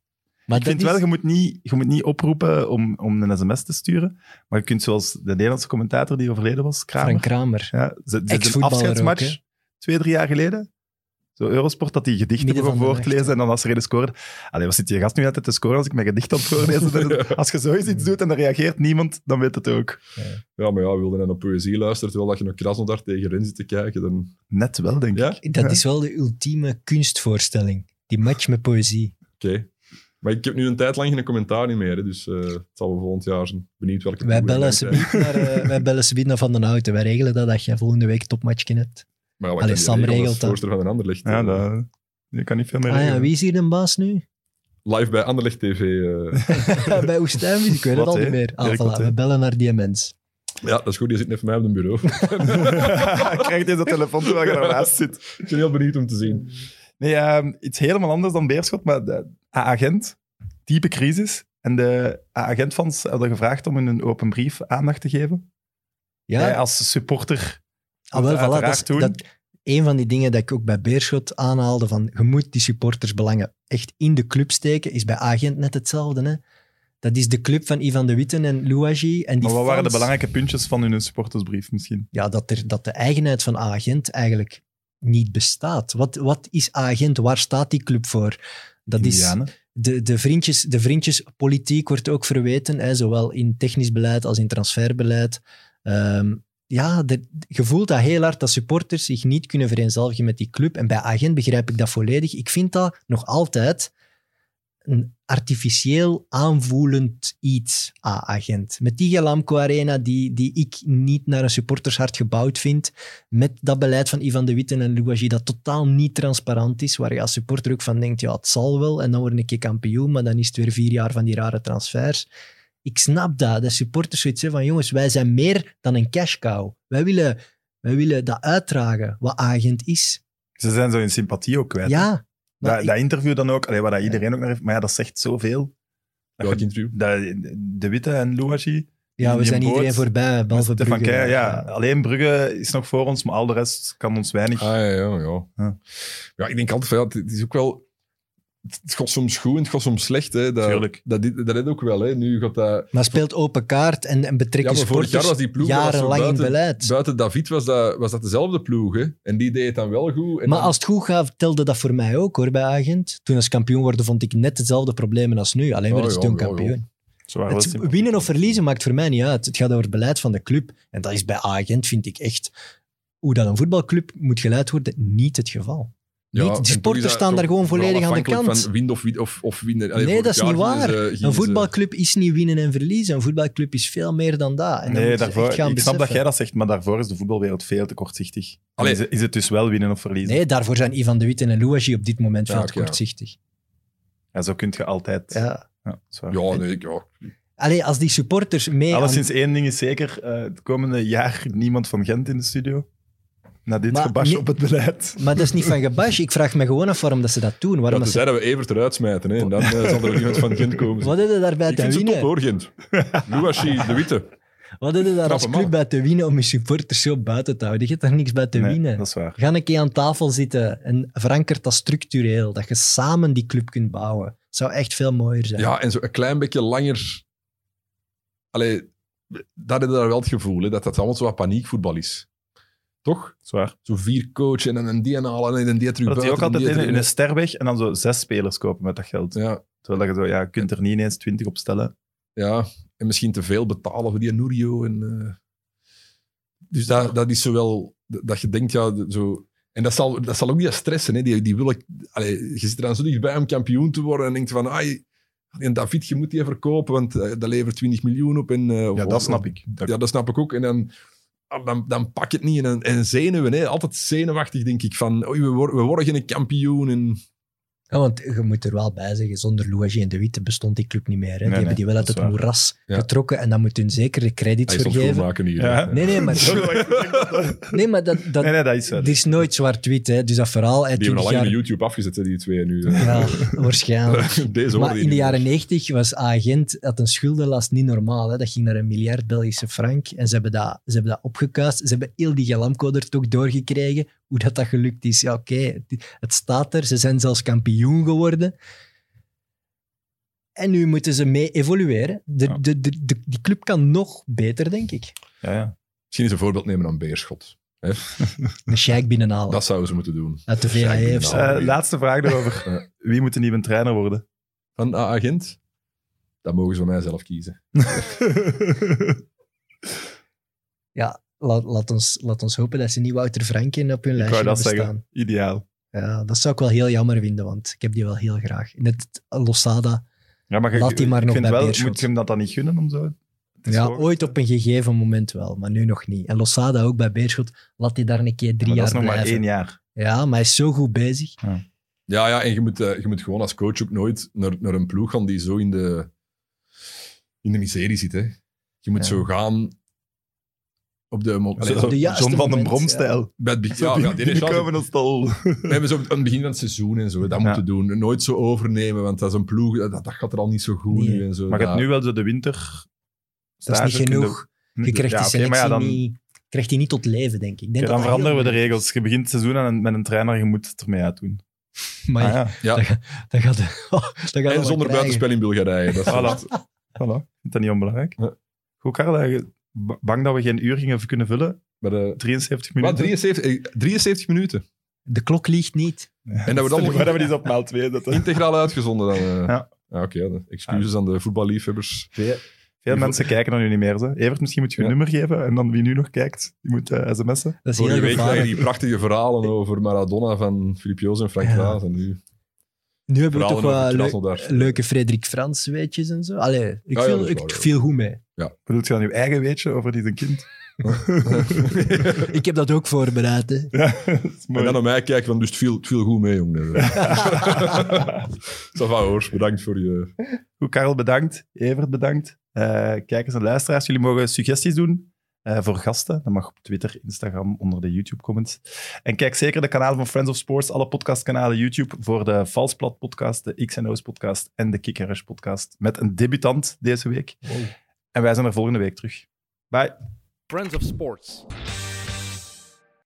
Maar Ik vind dat wel, is- je moet niet, je moet niet oproepen om, om een sms te sturen. Maar je kunt, zoals de Nederlandse commentator die overleden was, Kramer. Frank Kramer. Ja, ze, ze een Ex-voetballer afscheidsmatch, ook, hè? twee, drie jaar geleden. Zo Eurosport, dat hij gedichten Midden begon van de voor te nacht, lezen. ja. En dan als er een scoorde... Allee, wat zit die gast nu altijd te scoren als ik mijn gedicht aan het voorlezen ben? Ja. Als je zoiets iets doet en dan reageert niemand, dan weet het ook. Ja, maar ja, wilde dan op poëzie luisteren terwijl dat je nog Krasnodar tegen Ren zit te kijken, dan... Net wel, denk ik. Ja, oké. Dat Ja. is wel de ultieme kunstvoorstelling. Die match met poëzie. Maar ik heb nu een tijd lang geen commentaar niet meer, hè, dus eh, het zal wel volgend jaar zijn. Benieuwd welke... Wij ploeg bellen het brengt, hè. subiet naar, eh, wij bellen subiet naar Van den Houten. Wij regelen dat dat jij volgende week topmatchje hebt. Maar ja, wat Allee, kan je Sam regelen als regelt dat. voorzitter van een Anderlecht. Ja, eh, dat, je kan niet veel meer Ah ja, regelen. wie is hier de baas nu? Live bij Anderlecht TV. eh. Bij Oestijn, ik weet het Wat, al niet hè? meer. Ah, Dirk, wat, voilà, hè? we bellen naar die mens. ja, dat is goed, die zit net voor mij op een bureau. Ik krijg deze telefoon terwijl je daarnaast zit. ik ben heel benieuwd om te zien. Nee, ehm, iets helemaal anders dan Beerschot, maar de agent diepe crisis. En de agentfans hadden gevraagd om in een open brief aandacht te geven. Ja, Jij als supporter. Ah, wel, Dat voilà, dat uiteraard is doen. dat, een van die dingen dat ik ook bij Beerschot aanhaalde, van je moet die supportersbelangen echt in de club steken, is bij Agent net hetzelfde. Hè? Dat is de club van Ivan de Witten en Louagie. En die maar wat waren de fans- belangrijke puntjes van hun supportersbrief misschien? Ja, dat, er, dat de eigenheid van Agent eigenlijk niet bestaat. Wat, wat is Agent? Waar staat die club voor? Dat is, Indianen. de, de, vriendjes, de vriendjespolitiek wordt ook verweten, hè, zowel in technisch beleid als in transferbeleid. Ehm, ja, de, je voelt dat heel hard dat supporters zich niet kunnen vereenzelvigen met die club. En bij Agent begrijp ik dat volledig. Ik vind dat nog altijd een artificieel aanvoelend iets, ah, Agent. Met die Gelamco Arena die, die ik niet naar een supportershart gebouwd vind. Met dat beleid van Ivan de Witte en Louagie dat totaal niet transparant is. Waar je als supporter ook van denkt, ja, het zal wel. En dan word ik kampioen, maar dan is het weer vier jaar van die rare transfers ik snap dat. De supporters zoiets zeggen van, jongens, wij zijn meer dan een cash cow. Wij willen, wij willen dat uitdragen, wat agent is. Ze zijn zo in sympathie ook kwijt. Ja. maar dat, ik- dat interview dan ook, allee, waar dat iedereen ook naar heeft. Maar ja, dat zegt zoveel. Dat Welk je- interview? dat, de Witte en Louagie. ja, we die zijn boot- iedereen voorbij, behalve Stefan Brugge. Keijer, ja. Alleen Brugge is nog voor ons, maar al de rest kan ons weinig. Ah, ja, ja, ja. Ja. ja. ik denk altijd van, ja, het- het is ook wel... Het gaat soms goed en het gaat soms slecht. Hè. Dat, Tuurlijk. Dat, dit- dat is ook wel. Hè. Nu gaat dat... Maar speelt open kaart en, en Ja, betrekken maar vorig jaar supporters was die ploeg... dat was zo jarenlang in buiten, beleid. buiten David was dat, was dat dezelfde ploeg. Hè. En die deed het dan wel goed. En maar dan- als het goed gaat, telde dat voor mij ook hoor, bij Agent. Toen als kampioen worden vond ik net dezelfde problemen als nu. Alleen Ja, werden ze Oh, ja, dus toen ja, ja. kampioen. Ze waren wel Het sympathiek. winnen of verliezen maakt voor mij niet uit. Het gaat over het beleid van de club. En dat is bij agent, vind ik echt, hoe dat een voetbalclub moet geleid worden, niet het geval. niet- en die toch is sporters dat staan daar toch gewoon vooral volledig aan de afhankelijk kant. Van wind of, win- of, of winnen. Allee, Nee, vorig dat is jaar eh, niet gingen waar. ze- gingen Een ze- voetbalclub is niet winnen en verliezen. Een voetbalclub is veel meer dan dat. En Nee, dan moeten ze daarvoor, echt ik gaan snap dat beseffen. jij dat zegt, maar daarvoor is de voetbalwereld veel te kortzichtig. En Allee. Is, is het dus wel winnen of verliezen? Nee, daarvoor zijn Ivan de Witte en Louagie op dit moment Ja, veel oké, te ja. kortzichtig. Ja, zo kun je altijd... Ja. Ja. dat is waar. Ja, nee, ik- ja. Allee, als die supporters mee... aan- Alleszins één ding is zeker, eh, het komende jaar niemand van Gent in de studio. Na dit Maar gebasje nee- op het beleid. Maar dat is niet van gebash. Ik vraag me gewoon af waarom dat ze dat doen. Waarom Ja, dat ze... tenzij dat we Evert eruit smijten. Hè. En dan eh, zal er ook iemand van Gent komen. Wat hadden ze daarbij ik te vind ze winnen? top hoor, Gent. Louagie, de Witte. Wat hadden daar als Knappe club mannen. bij te winnen om je supporters zo buiten te houden? Je hebt daar niks bij te Nee, winnen. dat is waar. Ga een keer aan tafel zitten en verankert dat structureel. Dat je samen die club kunt bouwen. Het zou echt veel mooier zijn. Ja, en zo een klein beetje langer... Allee, dat is daar wel het gevoel, hè, dat dat allemaal zo wat paniekvoetbal is. Toch? Dat is waar. Zo vier coachen en een die en halen en een die terug Dat die ook buiten, altijd een die in, in terug- een ster weg en dan zo zes spelers kopen met dat geld. Ja, Terwijl dat je zo, ja, je kunt er niet ineens twintig op stellen. ja, en misschien te veel betalen voor die Nurio. En, eh, dus dat, dat is zowel... Dat dat je denkt, ja, zo... En dat zal, dat zal ook niet stressen. Hè. Die, die wil ik, allee, je zit er dan zo dichtbij om kampioen te worden en denkt van... Ai, en David, je moet die verkopen, want eh, dat levert 20 miljoen op. En, eh, of- Ja, of- dat snap ik. Dat- Ja, dat snap ik ook. En dan, ah, dan, dan pak je het niet. En, en zenuwen, hè. altijd zenuwachtig, denk ik. Van, oei, we, worden, we worden geen kampioen. En, Ja, want je moet er wel bij zeggen, zonder Louagie en De Witte bestond die club niet meer. Hè? die nee, hebben die wel uit dat het is waar. moeras Ja. getrokken en dan moet hun zeker de credits hij zal het vergeven. maken hier. Ja. hè. Nee, nee, maar, nee, maar dat, dat, Nee, nee, dat is wel. het is nooit zwart-wit. hè. Dus dat verhaal uit Die 20 hebben al lang jaar... de YouTube afgezet, hè, die twee nu. Ja, waarschijnlijk. Deze Maar hoorde je in de niet jaren meer. 90 was agent had een schuldenlast niet normaal. Hè? Dat ging naar een miljard Belgische frank. En ze hebben dat, ze hebben dat opgekuist. Ze hebben heel die Galamco er toch doorgekregen. Hoe dat, dat gelukt is. Ja, oké, het, het staat er. Ze zijn zelfs kampioen geworden. En nu moeten ze mee evolueren. De, Ja. de, de, de- die club kan nog beter, denk ik. Ja, ja. Misschien eens een voorbeeld nemen aan Beerschot. Hè? Een sheik binnenhalen Dat zouden ze moeten doen. uit de Sheik VAE of zo. binnenhalen. Eh, laatste vraag daarover. Ja. Wie moet een nieuwe trainer worden? Van ah, agent, dat mogen ze van mij zelf kiezen. Laat, laat, ons, laat ons hopen dat ze niet Wouter Franken op hun Ik wou lijstje dat bestaan. zeggen. Ideaal. Ja, dat zou ik wel heel jammer vinden, want ik heb die wel heel graag. Net Losada. Ja, maar je- Laat die maar ik nog vind bij wel, Beerschot. Moet je hem dat dan niet gunnen om zo? Het is Ja, gewoon- ooit op een gegeven moment wel, maar nu nog niet. En Losada ook bij Beerschot. Laat die daar een keer drie Maar dat jaar is nog maar blijven. één jaar. Ja, maar hij is zo goed bezig. Ja, ja en je moet, eh, je moet gewoon als coach ook nooit naar, naar een ploeg gaan die zo in de, in de miserie zit. Hè. Je moet Ja. zo gaan op de... mo- Allee, zo- zo- de juiste John van den moment, Bromstijl. bij het be- Zo Ah, ja, ja, binnen- die is altijd- binnenkomen als het al... We hebben zo aan het begin van het seizoen en zo, hè, dat Ja. moeten doen. Nooit zo overnemen, want dat is een ploeg, dat, dat gaat er al niet zo goed Nee. nu en zo. Maar je dat- hebt nu wel zo de winter... Dat is niet genoeg. Je krijgt die selectie niet, Ah, krijgt die niet tot leven, denk ik. ik denk Oké, dat dan dat heel veranderen we de belangrijk regels. Je begint het seizoen aan een- met een trainer, je moet het ermee uitdoen. is. Maar Ah, ja. Ja. dat, gaat- dat gaat... dat gaat we En wel zonder krijgen. buitenspel in Bulgarije. Dat is Voilà. echt- Voilà. Ik vind dat niet onbelangrijk. Ja. Goed, Karel. eh, je- ba- Bang dat we geen uur gingen kunnen vullen. maar, eh, 73 maar minuten. 73, eh, 73 minuten. De klok liegt niet. En dat wordt Stel je voor allemaal dat we die op maal 2 zetten. integraal uitgezonden dan. eh. Ja. Ja, Oké, dan excuses aan de voetballiefhebbers. Veel mensen kijken dan nu niet meer. Zo. Evert, misschien moet je je Ja. nummer geven. En dan wie nu nog kijkt, die moet eh, sms'en. Dat is Vorige heel week waren gevaarlijk. die prachtige verhalen over Maradona van Filip Joos en Frank Ja. Raas. En nu Nu hebben we verhalen toch over wel het leuk- daar. leuke Frederik Frans weetjes en zo. Allee, ik, Ja, ja, viel, dat is ik waar, ja. viel goed mee. Bedoelt je dan je eigen weetje over die zijn kind? Ik heb dat ook voorbereid. hè. Ja, dat is En mooi. dan naar mij kijken, van, dus het viel, het viel goed mee, jongen. Ça va, hoor. Bedankt voor je... Goed, Karel, bedankt. Evert, bedankt. Eh, kijkers en luisteraars, jullie mogen suggesties doen eh, voor gasten. Dat mag op Twitter, Instagram, onder de YouTube-comments. En kijk zeker de kanalen van Friends of Sports, alle podcastkanalen YouTube, voor de Valsplat podcast, de X&O's podcast en de Kickers podcast, met een debutant deze week. En wij zijn er volgende week terug. Bye. Friends of Sports.